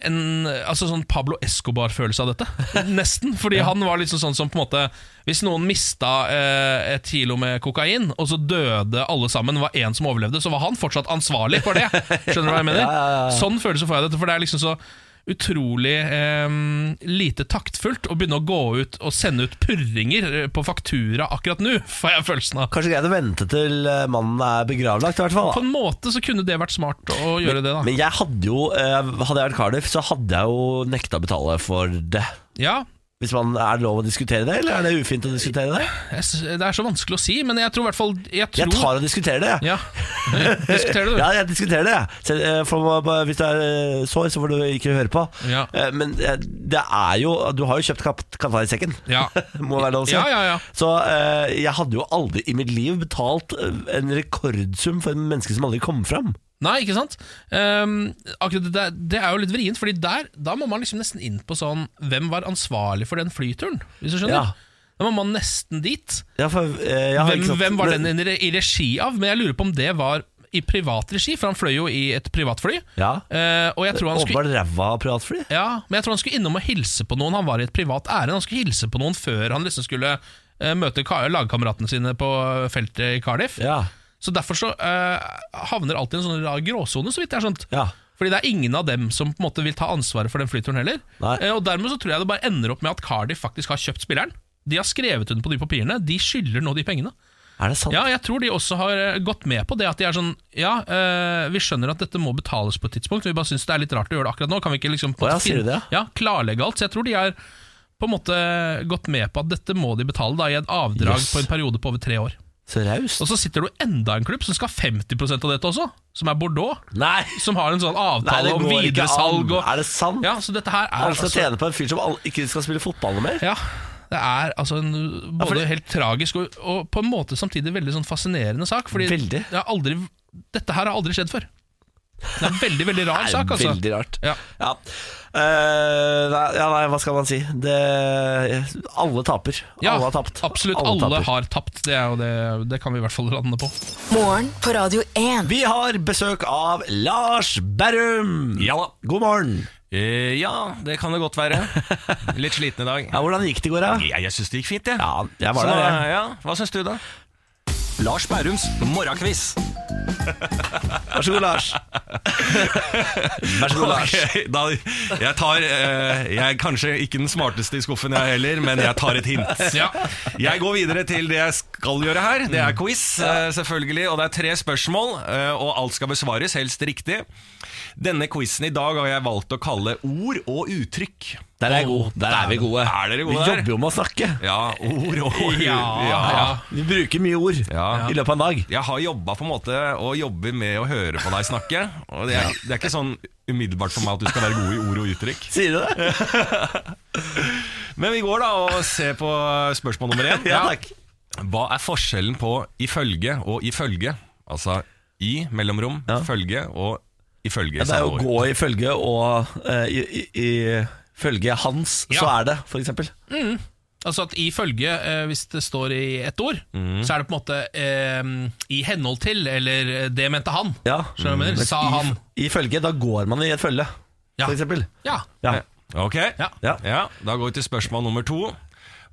Speaker 2: en altså sånn Pablo Escobar-følelse av dette. Nesten. Fordi han var liksom sånn som på en måte Hvis noen mista eh, et kilo med kokain, og så døde alle sammen, det var én som overlevde, så var han fortsatt ansvarlig for det. Skjønner du hva jeg mener? Sånn følelse får jeg av dette. For det er liksom så utrolig eh, lite taktfullt å begynne å gå ut og sende ut purringer eh, på faktura akkurat nå, får jeg følelsen av.
Speaker 1: Kanskje greit å vente til eh, mannen er begravlagt, i hvert fall.
Speaker 2: På
Speaker 1: Da.
Speaker 2: en måte så kunne det vært smart å gjøre det, da.
Speaker 1: Men jeg hadde jo eh, Hadde jeg vært Cardiff, så hadde jeg jo nekta å betale for det.
Speaker 2: Ja,
Speaker 1: Hvis man Er det lov å diskutere det, eller er det ufint å diskutere det?
Speaker 2: jeg, s- det er så vanskelig å si, men jeg tror i hvert fall Jeg tror
Speaker 1: Jeg tar og diskuterer det, jeg.
Speaker 2: Ja, diskuter det du.
Speaker 1: Ja, jeg diskuterer det. jeg. Selv, eh, for, eh, hvis du er eh, sår, så får du ikke høre på.
Speaker 2: Ja.
Speaker 1: Eh, Men eh, det er jo Du har jo kjøpt kap- katta i sekken.
Speaker 2: Ja.
Speaker 1: Må være lov å si.
Speaker 2: Ja, ja, ja.
Speaker 1: Så eh, jeg hadde jo aldri i mitt liv betalt eh, en rekordsum for en menneske som aldri kom fram.
Speaker 2: Nei, ikke sant? Ehm, akkurat det, der, det er jo litt vrient, Fordi der, da må man liksom nesten inn på sånn Hvem var ansvarlig for den flyturen? Hvis du skjønner?
Speaker 1: Ja.
Speaker 2: Da må man nesten dit.
Speaker 1: Ja, for, eh, ja,
Speaker 2: Hvem,
Speaker 1: ikke sant?
Speaker 2: hvem var
Speaker 1: Men-
Speaker 2: den i re- i regi av? Men jeg lurer på om det var i privat regi, for han fløy jo i et privatfly.
Speaker 1: Ja.
Speaker 2: Eh, og jeg tror han skulle
Speaker 1: Åpenbart ræva privatfly.
Speaker 2: Ja, men jeg tror han skulle innom og hilse på noen. Han var i et privat ærend. Han skulle hilse på noen før han liksom skulle eh, møte ka- lagkameratene sine på eh, feltet i Cardiff.
Speaker 1: Ja.
Speaker 2: Så derfor så eh, havner alltid en sånn rar gråsone, så vidt jeg har skjønt.
Speaker 1: Ja.
Speaker 2: Fordi det er ingen av dem som på en måte vil ta ansvaret for den flyturen heller.
Speaker 1: Nei.
Speaker 2: Eh, og dermed så tror jeg det bare ender opp med at Cardiff faktisk har kjøpt spilleren. De har skrevet under på de papirene. De skylder nå de pengene.
Speaker 1: Er det sant?
Speaker 2: Ja, jeg tror de også har eh, gått med på det at de er sånn Ja, eh, vi skjønner at dette må betales på et tidspunkt, vi bare syns det er litt rart å gjøre det akkurat nå. Kan vi ikke liksom på
Speaker 1: Å ja,
Speaker 2: en måte
Speaker 1: sier du
Speaker 2: finne-
Speaker 1: det?
Speaker 2: Ja, klarlegge alt. Så jeg tror de har på en måte gått med på at dette må de betale da, i et avdrag
Speaker 1: Yes.
Speaker 2: på en periode på over tre år.
Speaker 1: Så raust.
Speaker 2: Og så sitter det jo enda en klubb som skal ha 50 av dette også, som er Bordeaux.
Speaker 1: Nei!
Speaker 2: Som har en sånn
Speaker 1: Nei,
Speaker 2: avtale
Speaker 1: det
Speaker 2: om
Speaker 1: går ikke an.
Speaker 2: videresalg og
Speaker 1: Er det sant?
Speaker 2: Ja, så dette her er altså-
Speaker 1: Han skal tjene på en fyr som all- ikke skal spille fotball noe mer?
Speaker 2: Ja, det er altså en både
Speaker 1: fordi-
Speaker 2: helt tragisk og, og på en måte samtidig veldig sånn fascinerende sak. Fordi
Speaker 1: Veldig.
Speaker 2: det har aldri, dette her har aldri skjedd før. Det er en veldig, veldig rar
Speaker 1: Det er
Speaker 2: sak, altså.
Speaker 1: Veldig rart.
Speaker 2: Ja.
Speaker 1: Eh, nei, ja, nei, hva skal man si? Det, alle taper.
Speaker 2: Ja,
Speaker 1: alle har tapt.
Speaker 2: Absolutt alle, har tapt. Det, er jo det, det kan vi i hvert fall lande på.
Speaker 3: Morgen på Radio 1.
Speaker 1: Vi har besøk av Lars Berrum.
Speaker 6: Ja da.
Speaker 1: God morgen.
Speaker 6: Eh, ja, det kan det godt være. Litt sliten i dag.
Speaker 1: Ja, hvordan gikk det i går, da?
Speaker 6: Jeg, jeg syns det gikk fint, jeg.
Speaker 1: Ja, jeg var
Speaker 6: Så
Speaker 1: der.
Speaker 6: da-
Speaker 1: jeg.
Speaker 6: ja. Hva syns du, da?
Speaker 7: Lars Bærums morgenkviss.
Speaker 1: Vær så god, Lars. Vær så god, Lars.
Speaker 6: Ok, da, jeg tar eh, Jeg er kanskje ikke den smarteste i skuffen, jeg heller, men jeg tar et hint.
Speaker 2: Ja.
Speaker 6: Jeg går videre til det jeg skal gjøre her. Det er quiz, eh, selvfølgelig. Og det er tre spørsmål, eh, og alt skal besvares, helst riktig. Denne quizen i dag har jeg valgt å kalle ord og uttrykk.
Speaker 1: Der er jeg god. Der er vi gode.
Speaker 6: Er dere gode
Speaker 1: vi
Speaker 6: der?
Speaker 1: jobber jo med å snakke.
Speaker 6: Ja, ord og uttrykk.
Speaker 2: Ja, ja.
Speaker 1: Vi bruker mye ord
Speaker 6: Ja.
Speaker 1: i løpet av en dag.
Speaker 6: Jeg har jobba på en måte og jobber med å høre på deg snakke. Og det er, det er ikke sånn umiddelbart for meg at du skal være god i ord og uttrykk.
Speaker 1: Sier du det?
Speaker 6: Men vi går da og ser på spørsmål nummer én.
Speaker 1: Ja, takk.
Speaker 6: Hva er forskjellen på ifølge og ifølge? Altså i mellomrom,
Speaker 1: Ja.
Speaker 6: følge og ifølge.
Speaker 1: Ja, det er jo å
Speaker 6: samme ord.
Speaker 1: gå i følge og eh, i, i, i følge hans, så
Speaker 2: Ja.
Speaker 1: er det, for eksempel.
Speaker 2: Altså at ifølge, eh, hvis det står i ett ord, så er det på en måte eh, i henhold til, eller eh, det mente han.
Speaker 1: Ja.
Speaker 2: Skjønner du hva jeg mener? Sa han.
Speaker 1: I følge, da går man i et følge,
Speaker 2: Ja.
Speaker 1: for eksempel.
Speaker 2: Ja.
Speaker 1: Ja.
Speaker 6: Ok,
Speaker 2: Ja.
Speaker 1: Ja.
Speaker 6: Ja, da går vi til spørsmål nummer to.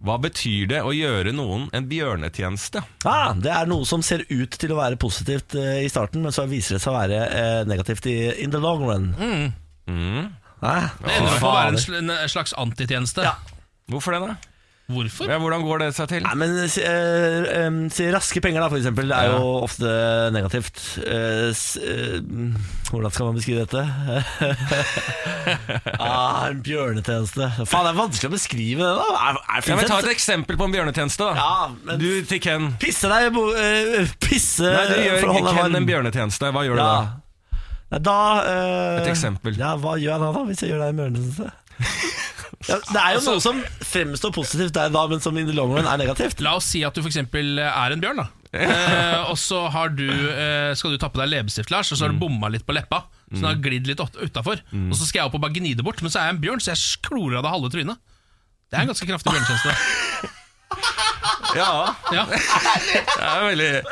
Speaker 6: Hva betyr det å gjøre noen en bjørnetjeneste?
Speaker 1: Ah, det er noe som ser ut til å være positivt eh, i starten, men så viser det seg å være eh, negativt i, in the long run. Ah,
Speaker 2: Mm. Det ender opp med å være en sl- en slags antitjeneste.
Speaker 6: Hvorfor det, da?
Speaker 2: Hvorfor?
Speaker 6: Ja, hvordan går det seg til?
Speaker 1: Nei, men si, eh, em, si raske penger, da, for eksempel. Det er jo ofte negativt. Eh, s, eh, hvordan skal man beskrive dette? ah, en bjørnetjeneste. Faen, det er vanskelig å beskrive det, da. Er, er,
Speaker 6: Ja, men Ta
Speaker 1: finnes
Speaker 6: et
Speaker 1: det-
Speaker 6: eksempel på en bjørnetjeneste. da
Speaker 1: Ja, men-
Speaker 6: Du til Ken.
Speaker 1: Pisse deg i bo... eh, pisse
Speaker 6: Nei, du
Speaker 1: for
Speaker 6: gjør
Speaker 1: å holde deg
Speaker 6: Ken
Speaker 1: varm.
Speaker 6: en bjørnetjeneste. Hva gjør
Speaker 1: Ja.
Speaker 6: du da?
Speaker 1: Nei, da eh,
Speaker 6: Et eksempel.
Speaker 1: Ja, Hva gjør jeg da, da hvis jeg gjør det i mørnelse? ja, det er jo
Speaker 6: Altså-
Speaker 1: noe som fremstår positivt der da, men som in the long run er negativt.
Speaker 2: La oss si at du f.eks. er en bjørn, da. Eh, og så har du, eh, skal du ta på deg leppestift, Lars, og så har du bomma litt på leppa. Så den har gnidd litt utafor. Og så skal jeg opp og bare gni det bort, men så er jeg en bjørn, så jeg klorer av deg halve trynet. Det er en ganske kraftig bjørnetjeneste.
Speaker 6: Ja,
Speaker 2: Ja.
Speaker 6: det er et veldig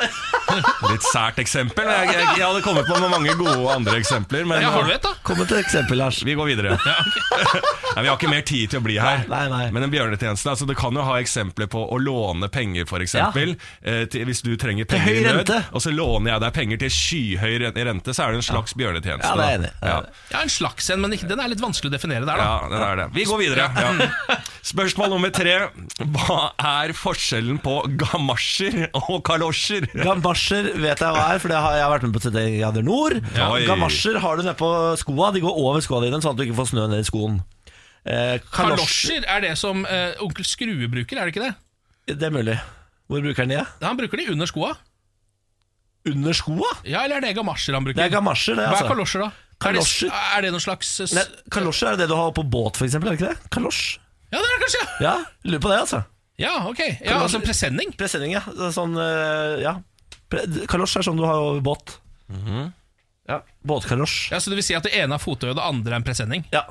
Speaker 6: Litt sært eksempel. Jeg, jeg, jeg hadde kommet på med mange gode andre eksempler, men
Speaker 2: ja, har du et, da?
Speaker 1: Kom med et eksempel, Lars.
Speaker 6: vi går videre. Nei, vi har ikke mer tid til å bli her.
Speaker 1: Nei, nei, nei.
Speaker 6: Men en bjørnetjeneste altså, Det kan jo ha eksempler på å låne penger, f.eks. Eh, til- hvis du trenger penger
Speaker 1: høy
Speaker 6: i nød,
Speaker 1: rente.
Speaker 6: og så låner jeg deg penger til skyhøy ren- rente, så er det en slags bjørnetjeneste.
Speaker 1: Ja, det er
Speaker 6: da.
Speaker 1: enig. Ja,
Speaker 6: Ja.
Speaker 2: Ja, En slags en, men ikke, den er litt vanskelig å definere der, da.
Speaker 6: Ja, det er det. Vi går videre. Ja. Spørsmål nummer tre. Hva er forskjellen på gamasjer og kalosjer?
Speaker 1: Gamasjer vet jeg hva er, for det har jeg har vært med på CD Grader Nord.
Speaker 6: Ja. Oi.
Speaker 1: Gamasjer har du nedpå skoa. De går over skoa dine, sånn at du ikke får snø ned i skoen. Eh, kalosjer
Speaker 2: Kalosjer er det som eh, onkel Skrue bruker, er det ikke det?
Speaker 1: Det er mulig. Hvor bruker den de?
Speaker 2: Han bruker de under skoa.
Speaker 1: Under skoa?
Speaker 2: Ja, eller er det gamasjer han bruker?
Speaker 1: Det er gamasjer, det.
Speaker 2: Hva er
Speaker 1: altså
Speaker 2: kalosjer, da? Er det,
Speaker 1: Kalosjer?
Speaker 2: er det noen slags eh, s-
Speaker 1: Nei, Kalosjer er det du har på båt, for eksempel, er det ikke det? Kalosj?
Speaker 2: Ja, det er det kanskje! ja.
Speaker 1: Ja, lurer på det, altså.
Speaker 2: Ja, ok. Ja, altså en presenning.
Speaker 1: Presenning, ja. Det er Sånn, eh, ja. Pre- Kalosj er sånn du har over båt. Ja, Mhm. Båtkalosj.
Speaker 2: Ja, Så det vil si at det ene er fottøy, og det andre er en presenning?
Speaker 1: Ja.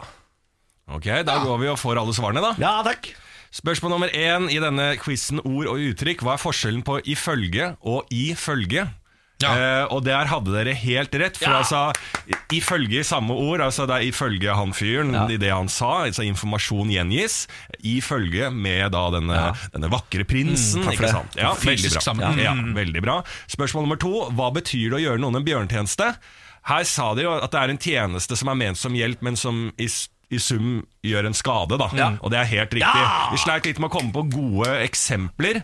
Speaker 6: Ok, Da går vi og får alle svarene, da.
Speaker 1: ja, takk.
Speaker 6: Spørsmål nummer én i denne quizen ord og uttrykk. Hva er forskjellen på ifølge og ifølge?
Speaker 2: Ja.
Speaker 6: Eh, og der hadde dere helt rett, for altså i- ifølge i samme ord, altså det er ifølge han fyren, i det han sa, altså informasjon gjengis, ifølge med da denne, denne vakre
Speaker 2: Mm,
Speaker 6: prinsen, ikke sant? Ja, veldig
Speaker 2: Fysisk
Speaker 6: bra.
Speaker 2: sammen.
Speaker 6: Ja, veldig bra. Spørsmål nummer to, hva betyr det å gjøre noen en bjørntjeneste? Her sa de jo at det er en tjeneste som er ment som hjelp, men som i, s- i sum gjør en skade, da. Og det er helt riktig. Vi sleit litt med å komme på gode eksempler,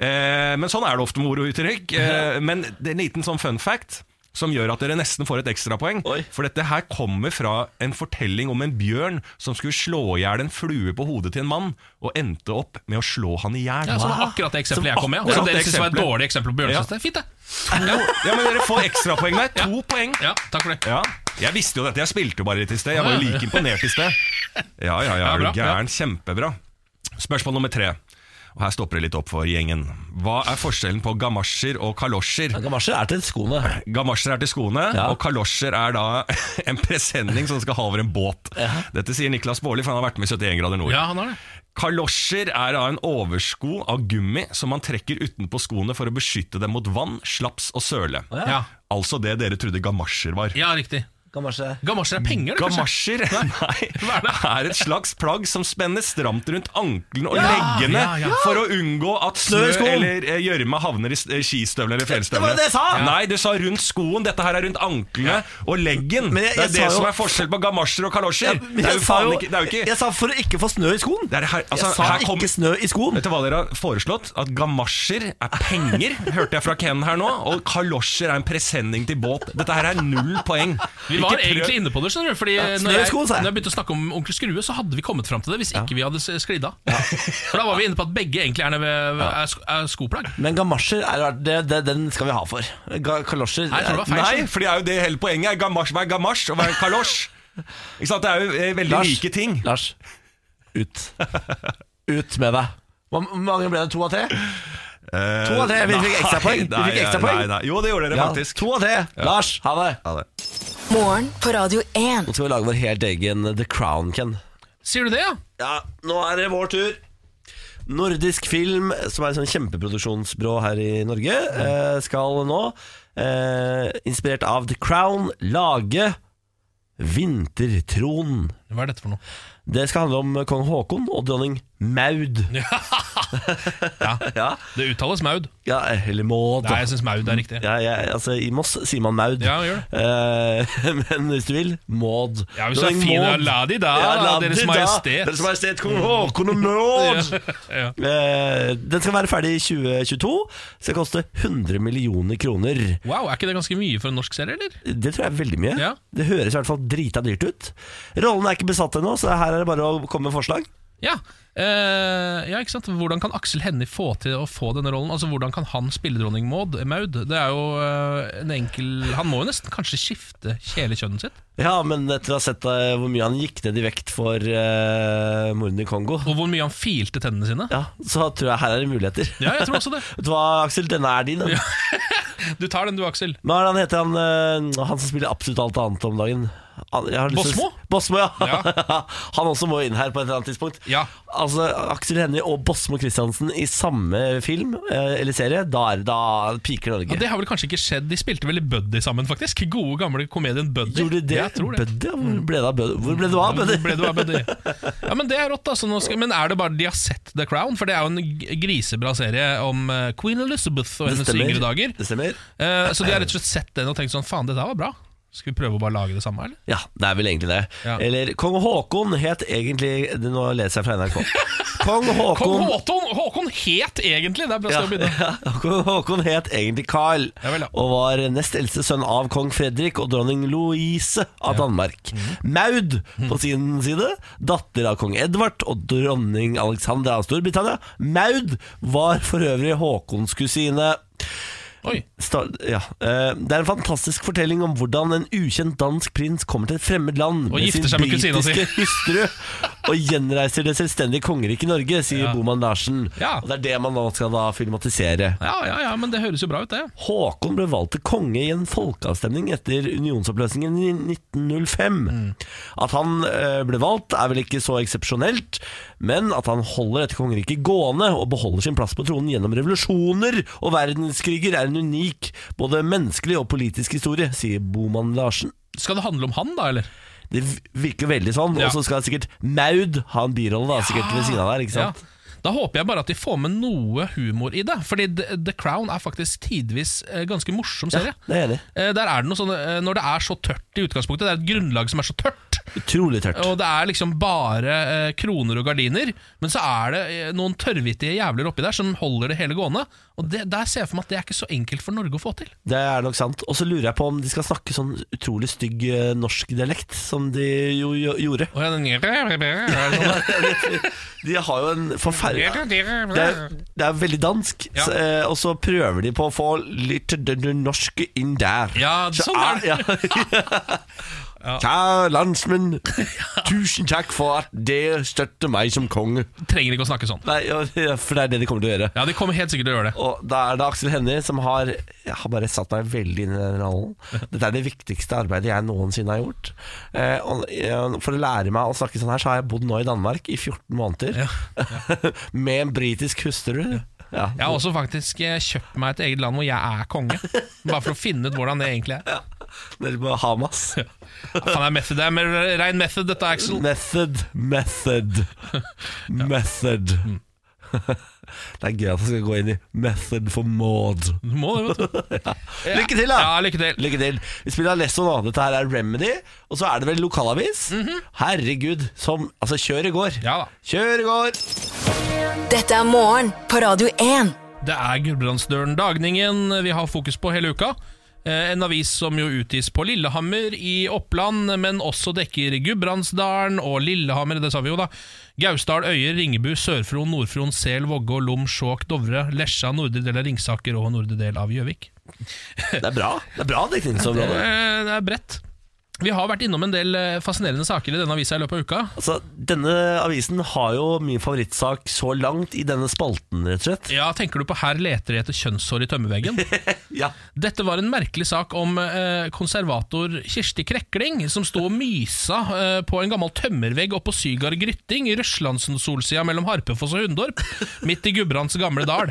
Speaker 6: eh, men sånn er det ofte med ord og uttrykk. Eh, men det er en liten sånn fun fact. Som gjør at dere nesten får et ekstrapoeng.
Speaker 1: Oi.
Speaker 6: For dette her kommer fra en fortelling om en bjørn som skulle slå i hjel en flue på hodet til en mann, og endte opp med å slå han i hjel.
Speaker 2: Ja, så det var akkurat det eksempelet jeg kom med.
Speaker 6: Som
Speaker 2: Ja. Som dere
Speaker 6: akkurat
Speaker 2: synes var et
Speaker 6: eksempelet.
Speaker 2: dårlig eksempel på bjørnetjeneste. Fint, det.
Speaker 6: Ja, men dere får ekstrapoeng der. To poeng.
Speaker 2: Ja, takk for det.
Speaker 6: Ja. Jeg visste jo dette. Jeg spilte jo bare litt i sted. Jeg var jo like imponert i sted. Ja, ja, ja.
Speaker 2: Ja,
Speaker 6: Er du
Speaker 2: bra, bra.
Speaker 6: gæren? Kjempebra. Spørsmål nummer tre. Og her stopper det litt opp for gjengen. Hva er forskjellen på gamasjer og kalosjer?
Speaker 1: Ja, Gamasjer er til skoene.
Speaker 6: Gamasjer er til skoene,
Speaker 1: Ja.
Speaker 6: og kalosjer er da en presenning som skal ha over en båt. Dette sier Niklas Baarli, for han har vært med i 71 grader nord.
Speaker 2: Ja, han har det.
Speaker 6: Kalosjer er da en oversko av gummi som man trekker utenpå skoene for å beskytte dem mot vann, slaps og søle.
Speaker 2: Ja,
Speaker 6: Altså det dere trodde gamasjer var.
Speaker 2: ja riktig.
Speaker 1: Gamasjer.
Speaker 2: Gamasjer er penger, det, kanskje?
Speaker 6: Gamasjer nei,
Speaker 2: Hva er det?
Speaker 6: er et slags plagg som spenner stramt rundt ankelen og
Speaker 2: Ja,
Speaker 6: leggene
Speaker 2: ja, ja.
Speaker 6: for å unngå at snø
Speaker 1: Snø i skoen.
Speaker 6: eller eh, gjørme havner i s- eh, skistøvler eller
Speaker 1: Det var
Speaker 6: fjellstøvler.
Speaker 1: det jeg sa!
Speaker 6: Nei, du sa rundt skoen. Dette her er rundt anklene og leggen.
Speaker 1: Men jeg-
Speaker 6: det
Speaker 1: jeg
Speaker 6: er det
Speaker 1: sa jo-
Speaker 6: som er forskjell på gamasjer og kalosjer.
Speaker 1: Jeg,
Speaker 6: det er jo
Speaker 1: sa
Speaker 6: faen
Speaker 1: jo
Speaker 6: ikke, det er jo ikke
Speaker 1: Jeg sa for å ikke få snø i skoen.
Speaker 6: det er her, altså,
Speaker 1: jeg sa
Speaker 6: her kom-
Speaker 1: ikke snø i skoen.
Speaker 6: Vet du hva dere har foreslått? At gamasjer er penger, hørte jeg fra Ken her nå. Og kalosjer er en presenning til båt. Dette her er null poeng.
Speaker 2: Vi var egentlig inne på det, skjønner du. Fordi
Speaker 1: snø
Speaker 2: når,
Speaker 1: i
Speaker 2: jeg,
Speaker 1: skoen, sa jeg.
Speaker 2: når jeg begynte å snakke om onkel Skrue, så hadde vi kommet fram til det hvis ikke vi hadde s- sklidd av. For da var vi inne på at begge egentlig er, nede ved- er, sko, er skoplagg.
Speaker 1: Men gamasjer, er, det, det, den skal vi ha for. Ga, kalosjer
Speaker 2: Nei, jeg tror det var feil.
Speaker 6: Nei, for det er jo det hele poenget. er Gamasj, hva er gamasj, og hva er kalosj? Ikke sant, Det er jo eh, veldig
Speaker 1: Lars.
Speaker 6: like ting.
Speaker 1: Lars, ut. Ut med deg. Hvor mange ble det? To av tre? To av tre, vi fikk
Speaker 6: Eh, Nei,
Speaker 1: ekstrapoeng. Vi
Speaker 6: nei,
Speaker 1: fikk ekstrapoeng.
Speaker 6: Nei, nei. Jo, det gjorde dere
Speaker 1: Ja,
Speaker 6: faktisk.
Speaker 1: to av tre. Lars, ha det.
Speaker 3: Morgen på Radio 1.
Speaker 1: Nå skal vi lage vår helt egen The Crown, Ken.
Speaker 2: Sier du det, ja?
Speaker 1: Ja, nå er det vår tur. Nordisk Film, som er et sånn kjempeproduksjonsbyrå her i Norge, eh, skal nå, eh, inspirert av The Crown, lage Vintertronen
Speaker 2: Hva er dette for noe?
Speaker 1: Det skal handle om kong Haakon og dronning Maud.
Speaker 2: Ja,
Speaker 1: Ja,
Speaker 2: Det uttales maud.
Speaker 1: ja eller Maud.
Speaker 2: Nei, jeg syns maud er riktig.
Speaker 1: Ja, jeg, altså, I Moss sier man Maud.
Speaker 2: Ja, gjør
Speaker 1: Eh, men hvis du vil, Maud.
Speaker 2: Ja, hvis du er
Speaker 1: Dronning
Speaker 2: fin, ja,
Speaker 1: Maud.
Speaker 2: la de da,
Speaker 1: la
Speaker 2: Deres
Speaker 1: de da.
Speaker 2: Majestet.
Speaker 1: Deres Majestet kong Haakon og Maud!
Speaker 2: Ja.
Speaker 1: Eh, den skal være ferdig i 2022. Skal koste 100 millioner kroner.
Speaker 2: Wow, er ikke det ganske mye for en norsk serie, eller?
Speaker 1: Det tror jeg er veldig mye.
Speaker 2: Ja.
Speaker 1: Det høres i hvert fall drita dyrt ut. Rollen er ikke besatt ennå, så her er det bare å komme med forslag.
Speaker 2: Ja. eh, ja, ikke sant? Hvordan kan Aksel Hennie få til å få denne rollen? Altså, Hvordan kan han spille dronning Maud? Maud? Det er jo eh, en enkel Han må jo nesten kanskje skifte kjælekjønnet sitt.
Speaker 1: Ja, men etter å ha sett eh, hvor mye han gikk ned i vekt for uh, mordene i Kongo,
Speaker 2: Og hvor mye han filte tennene sine.
Speaker 1: ja, så tror jeg her er det muligheter.
Speaker 2: Ja, jeg tror også det.
Speaker 1: Vet du hva, Aksel? Denne er din. den.
Speaker 2: Du tar den du, Aksel.
Speaker 1: Men Hva er det han heter, han, eh, han som spiller absolutt alt annet om dagen? Han- jeg har lyst til å-
Speaker 2: Bosmo?
Speaker 1: Bosmo, ja.
Speaker 2: Ja.
Speaker 1: han også må inn her på et eller annet tidspunkt.
Speaker 2: Ja.
Speaker 1: Altså, Aksel Hennie og Bosmo Christiansen i samme film eh, eller serie, da, er, det- da piker Norge.
Speaker 2: Ja, det har vel kanskje ikke skjedd. De spilte vel i Buddy sammen, faktisk. Gode, gamle komedien Buddy.
Speaker 1: Gjorde de det?
Speaker 2: Jeg tror det.
Speaker 1: Buddy, ja. Hvor ble det av Buddy? Hvor ble du av, Buddy?
Speaker 2: Hvor Ble du av Buddy? Ja, men det er rått, altså. Nå skal, men er det bare de har sett The Crown? For det er jo en g- grisebra serie om eh, queen Elizabeth og
Speaker 1: Det
Speaker 2: hennes
Speaker 1: stemmer.
Speaker 2: yngre dager.
Speaker 1: Det stemmer.
Speaker 2: Eh, så de har rett og slett sett den og tenkt sånn Faen, dette her var bra. Skal vi prøve å bare lage det samme, eller?
Speaker 1: Ja, det er vel egentlig det.
Speaker 2: Ja.
Speaker 1: Eller Kong Haakon het egentlig det- Nå leser jeg fra NRK. Kong
Speaker 2: Kong
Speaker 1: Haakon
Speaker 2: Håkon, Håkon het egentlig! Det er bra
Speaker 1: Ja,
Speaker 2: sted å begynne.
Speaker 1: ja, Kong Haakon het egentlig Carl,
Speaker 2: Ja vel, ja.
Speaker 1: og var nest eldste sønn av kong Fredrik og dronning Louise av Danmark.
Speaker 2: Mhm.
Speaker 1: Maud, på sin side, datter av kong Edvard og dronning Alexandra av Storbritannia. Maud var for øvrig Haakons kusine.
Speaker 2: Oi.
Speaker 1: Sta- ja. eh, Det er en fantastisk fortelling om hvordan en ukjent dansk prins kommer til et fremmed land
Speaker 2: Og gifter seg med kusina si.
Speaker 1: britiske hustru og gjenreiser det selvstendige kongeriket Norge, sier
Speaker 2: Ja.
Speaker 1: Boman Larsen.
Speaker 2: Ja.
Speaker 1: Og det er det man nå skal da filmatisere.
Speaker 2: Ja, ja, ja, men det høres jo bra ut, det.
Speaker 1: Håkon ble valgt til konge i en folkeavstemning etter unionsoppløsningen i 1905.
Speaker 2: Mm.
Speaker 1: At han eh, ble valgt er vel ikke så eksepsjonelt, men at han holder dette kongeriket gående og beholder sin plass på tronen gjennom revolusjoner og verdenskriger er en unik både menneskelig og politisk historie, sier Boman Larsen.
Speaker 2: Skal det handle om han, da, eller?
Speaker 1: Det virker veldig sånn,
Speaker 2: Ja.
Speaker 1: og så skal sikkert Maud ha en birolle da, sikkert ved siden av der, ikke
Speaker 2: Ja.
Speaker 1: sant?
Speaker 2: Da håper jeg bare at de får med noe humor i det. Fordi The, The Crown er faktisk tidvis eh, ganske morsom serie.
Speaker 1: det er jeg enig i.
Speaker 2: Eh, Der er det noe sånn, eh, Når det er så tørt i utgangspunktet, det er et grunnlag som er så tørt,
Speaker 1: Utrolig tørt.
Speaker 2: og det er liksom bare eh, kroner og gardiner, men så er det eh, noen tørrvittige jævler oppi der som holder det hele gående. Og det, Der ser jeg for meg at det er ikke så enkelt for Norge å få til.
Speaker 1: Det er nok sant. Og så lurer jeg på om de skal snakke sånn utrolig stygg eh, norsk dialekt, som de jo, jo gjorde.
Speaker 2: Og jeg, den,
Speaker 1: De har jo en forferdelig det er, det er veldig dansk,
Speaker 2: Ja.
Speaker 1: så, eh, og så prøver de på å få litt d- d- norsk inn der.
Speaker 2: Ja,
Speaker 1: Så
Speaker 2: sånn er det.
Speaker 1: ja. Kjære landsmenn, tusen takk for at dere støtter meg som konge.
Speaker 2: Trenger ikke å snakke sånn.
Speaker 1: Nei, ja, for det er det de kommer til å gjøre.
Speaker 2: Ja, De kommer helt sikkert til å gjøre det.
Speaker 1: Og da er det Aksel Hennie som har Jeg har bare satt meg veldig inn i den rollen. Dette er det viktigste arbeidet jeg noensinne har gjort. Eh, og, eh, for å lære meg å snakke sånn her, så har jeg bodd nå i Danmark i 14 måneder. med en britisk hustru. Ja.
Speaker 2: Jeg har også faktisk eh, kjøpt meg et eget land hvor jeg er konge. Bare for å finne ut hvordan det egentlig er.
Speaker 1: Nede på Hamas.
Speaker 2: Ja, faen, det er method, det er mer rein method, dette, Axel.
Speaker 1: Method, method, method.
Speaker 2: Mm.
Speaker 1: Det er gøy at jeg skal gå inn i method for Maud.
Speaker 2: Du må det, vet du.
Speaker 1: Mm. Lykke til, da!
Speaker 2: Ja, lykke til.
Speaker 1: Lykke til. Vi spiller Alesso nå. Dette her er Remedy, og så er det vel lokalavis. Herregud, som Altså, kjør i går.
Speaker 2: Mhm. Ja da.
Speaker 1: Kjør i går!
Speaker 3: Dette er morgen på Radio 1.
Speaker 2: Det er Gudbrandsdølen Dagningen vi har fokus på hele uka. Eh, En avis som jo utgis på Lillehammer i Oppland, men også dekker Gudbrandsdalen og Lillehammer, det sa vi jo da. Gausdal, Øyer, Ringebu, Sør-Fron, Nord-Fron, Sel, Vågå, Lom, Skjåk, Dovre, Lesja, nordre del av Ringsaker og nordre del av Gjøvik.
Speaker 1: Det er bra. Det er bra
Speaker 2: Eh,
Speaker 1: dekningsområde.
Speaker 2: Det er bredt. Vi har vært innom en del eh, fascinerende saker i denne avisa i løpet av uka.
Speaker 1: Altså, denne avisen har jo min favorittsak så langt i denne spalten, rett og slett.
Speaker 2: Ja, tenker du på Her leter de etter kjønnshår i tømmerveggen?
Speaker 1: Ja.
Speaker 2: Dette var en merkelig sak om eh, konservator Kirsti Krekling, som sto og mysa eh, på en gammel tømmervegg oppå Sygard Grytting i Røslandsen-solsida mellom Harpefoss og Hundorp, midt i Gudbrands gamle dal,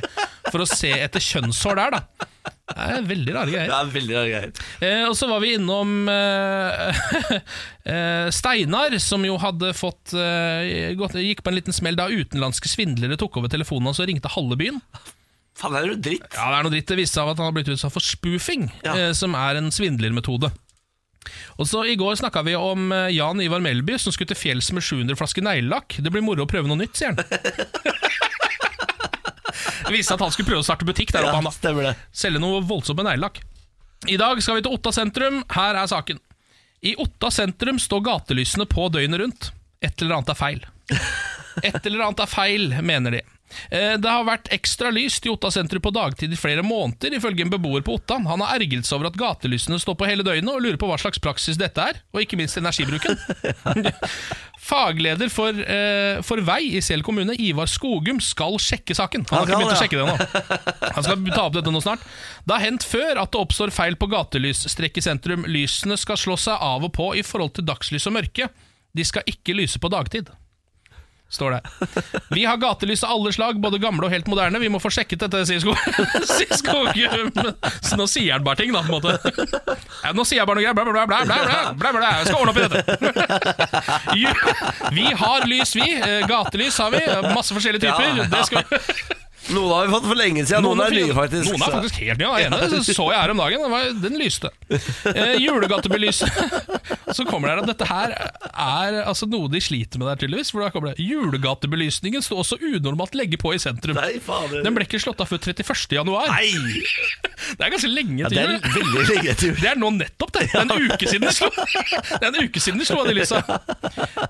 Speaker 2: for å se etter kjønnshår der, da. Det er veldig rare greier.
Speaker 1: Det er veldig rare greier.
Speaker 2: Eh, og så var vi innom eh, eh, Steinar, som jo hadde fått eh, gått, Gikk på en liten smell da utenlandske svindlere tok over telefonen hans og ringte halve byen.
Speaker 1: Faen, det er jo dritt.
Speaker 2: Ja, det er noe dritt. Det viste seg av at han har blitt utsatt for spoofing,
Speaker 1: Ja.
Speaker 2: eh, som er en svindlermetode. Og så I går snakka vi om eh, Jan Ivar Melby, som skulle til fjells med 700 flasker neglelakk. Det blir moro å prøve noe nytt, sier han. Det viste seg at han skulle prøve å starte butikk der oppe. han da
Speaker 1: stemmer det.
Speaker 2: Selge noe voldsomt med neglelakk. I dag skal vi til Otta sentrum. Her er saken. I Otta sentrum står gatelysene på døgnet rundt. Et eller annet er feil. Et eller annet er feil, mener de. Eh, Det har vært ekstra lyst i Otta sentrum på dagtid i flere måneder, ifølge en beboer på Otta. Han har ergret seg over at gatelysene står på hele døgnet, og lurer på hva slags praksis dette er, og ikke minst energibruken. Fagleder for, eh, for vei i Sel kommune, Ivar Skogum, skal sjekke saken. Han har ikke
Speaker 1: Han
Speaker 2: begynt å
Speaker 1: skal,
Speaker 2: sjekke det nå. Han skal ta opp dette nå snart. Det har hendt før at det oppstår feil på gatelysstrekk i sentrum. Lysene skal slå seg av og på i forhold til dagslys og mørke. De skal ikke lyse på dagtid. Står det. Vi har gatelys av alle slag, både gamle og helt moderne. Vi må få sjekket dette, sier Skogum. Sier Skogum. Så nå sier han bare ting, da, på en måte. Ja, nå sier jeg bare noe greier. Blæ, blæ, blæ, blæ, blæ, blæ, blæ. Jeg skal ordne opp i dette. Ju- Vi har lys, vi. Eh, Gatelys har vi. Masse forskjellige typer.
Speaker 1: Ja, ja.
Speaker 2: Det skal vi.
Speaker 1: Noen har vi fått for lenge siden, noen, er
Speaker 2: fin-
Speaker 1: nye, faktisk.
Speaker 2: Noen er
Speaker 1: så-
Speaker 2: faktisk helt nye. Den ene så jeg her om dagen. Den, var, den lyste. Eh, julegatebelyset. Så kommer det her at dette her er altså, noe de sliter med der, tydeligvis. For da kommer det Julegatebelysningen sto også unormalt lenge på i sentrum.
Speaker 1: Nei, fader.
Speaker 2: Den ble ikke slått av før 31. januar.
Speaker 1: Nei!
Speaker 2: Det er ganske lenge
Speaker 1: Ja,
Speaker 2: til
Speaker 1: det er
Speaker 2: jul.
Speaker 1: veldig lenge til jul.
Speaker 2: Det er nå nettopp det! Det er en uke siden de slo Det er en uke siden de slo av de lysa!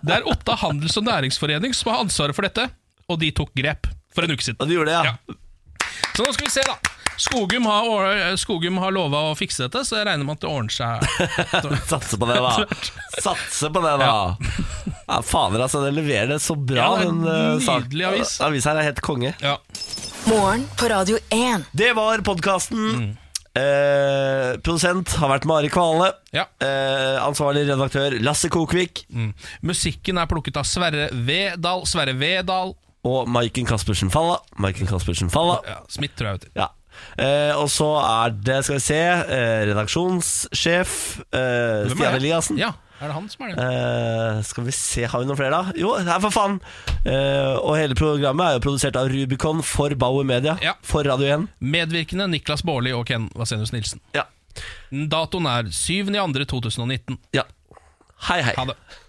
Speaker 2: Det er Otta handels- og næringsforening som har ansvaret for dette, og de tok grep for en uke siden.
Speaker 1: Og du gjorde det, ja.
Speaker 2: Så nå skal vi se, da. Skogum har, or- Skogum har lova å fikse dette, så jeg regner med at det ordner seg.
Speaker 1: Satse på det, da. Satse på det, da. Ja, Fader, altså. Den leverer det så bra,
Speaker 2: Ja, det er en
Speaker 1: den eh, sak-
Speaker 2: nydelig avis.
Speaker 1: Avisa her er helt konge.
Speaker 2: Ja.
Speaker 3: Morgen på Radio 1.
Speaker 1: Det var podkasten. Eh, produsent har vært Mari Kvale.
Speaker 2: Ja. Mm.
Speaker 1: Eh, ansvarlig redaktør Lasse Kokvik.
Speaker 2: Musikken er plukket av Sverre Vedal. Sverre Vedal
Speaker 1: Og Maiken Caspersen Falla. Maiken Caspersen Falla.
Speaker 2: ja, Smith, tror jeg. vet du.
Speaker 1: Ja. Eh, og så er det, skal vi se, eh, redaksjonssjef eh,
Speaker 2: Hvem er
Speaker 1: Stian
Speaker 2: det?
Speaker 1: Eliassen.
Speaker 2: Ja, er det han som er det?
Speaker 1: Eh, skal vi se, har vi noen flere da? Jo, her for faen! Eh, og hele programmet er jo produsert av Rubicon for Bauer Media.
Speaker 2: Ja.
Speaker 1: For Radio 1.
Speaker 2: Medvirkende Niklas Baarli og Ken Vasenius Nilsen.
Speaker 1: Ja.
Speaker 2: Datoen er 7.2.2019.
Speaker 1: ja. Hei, hei.
Speaker 2: Ha det.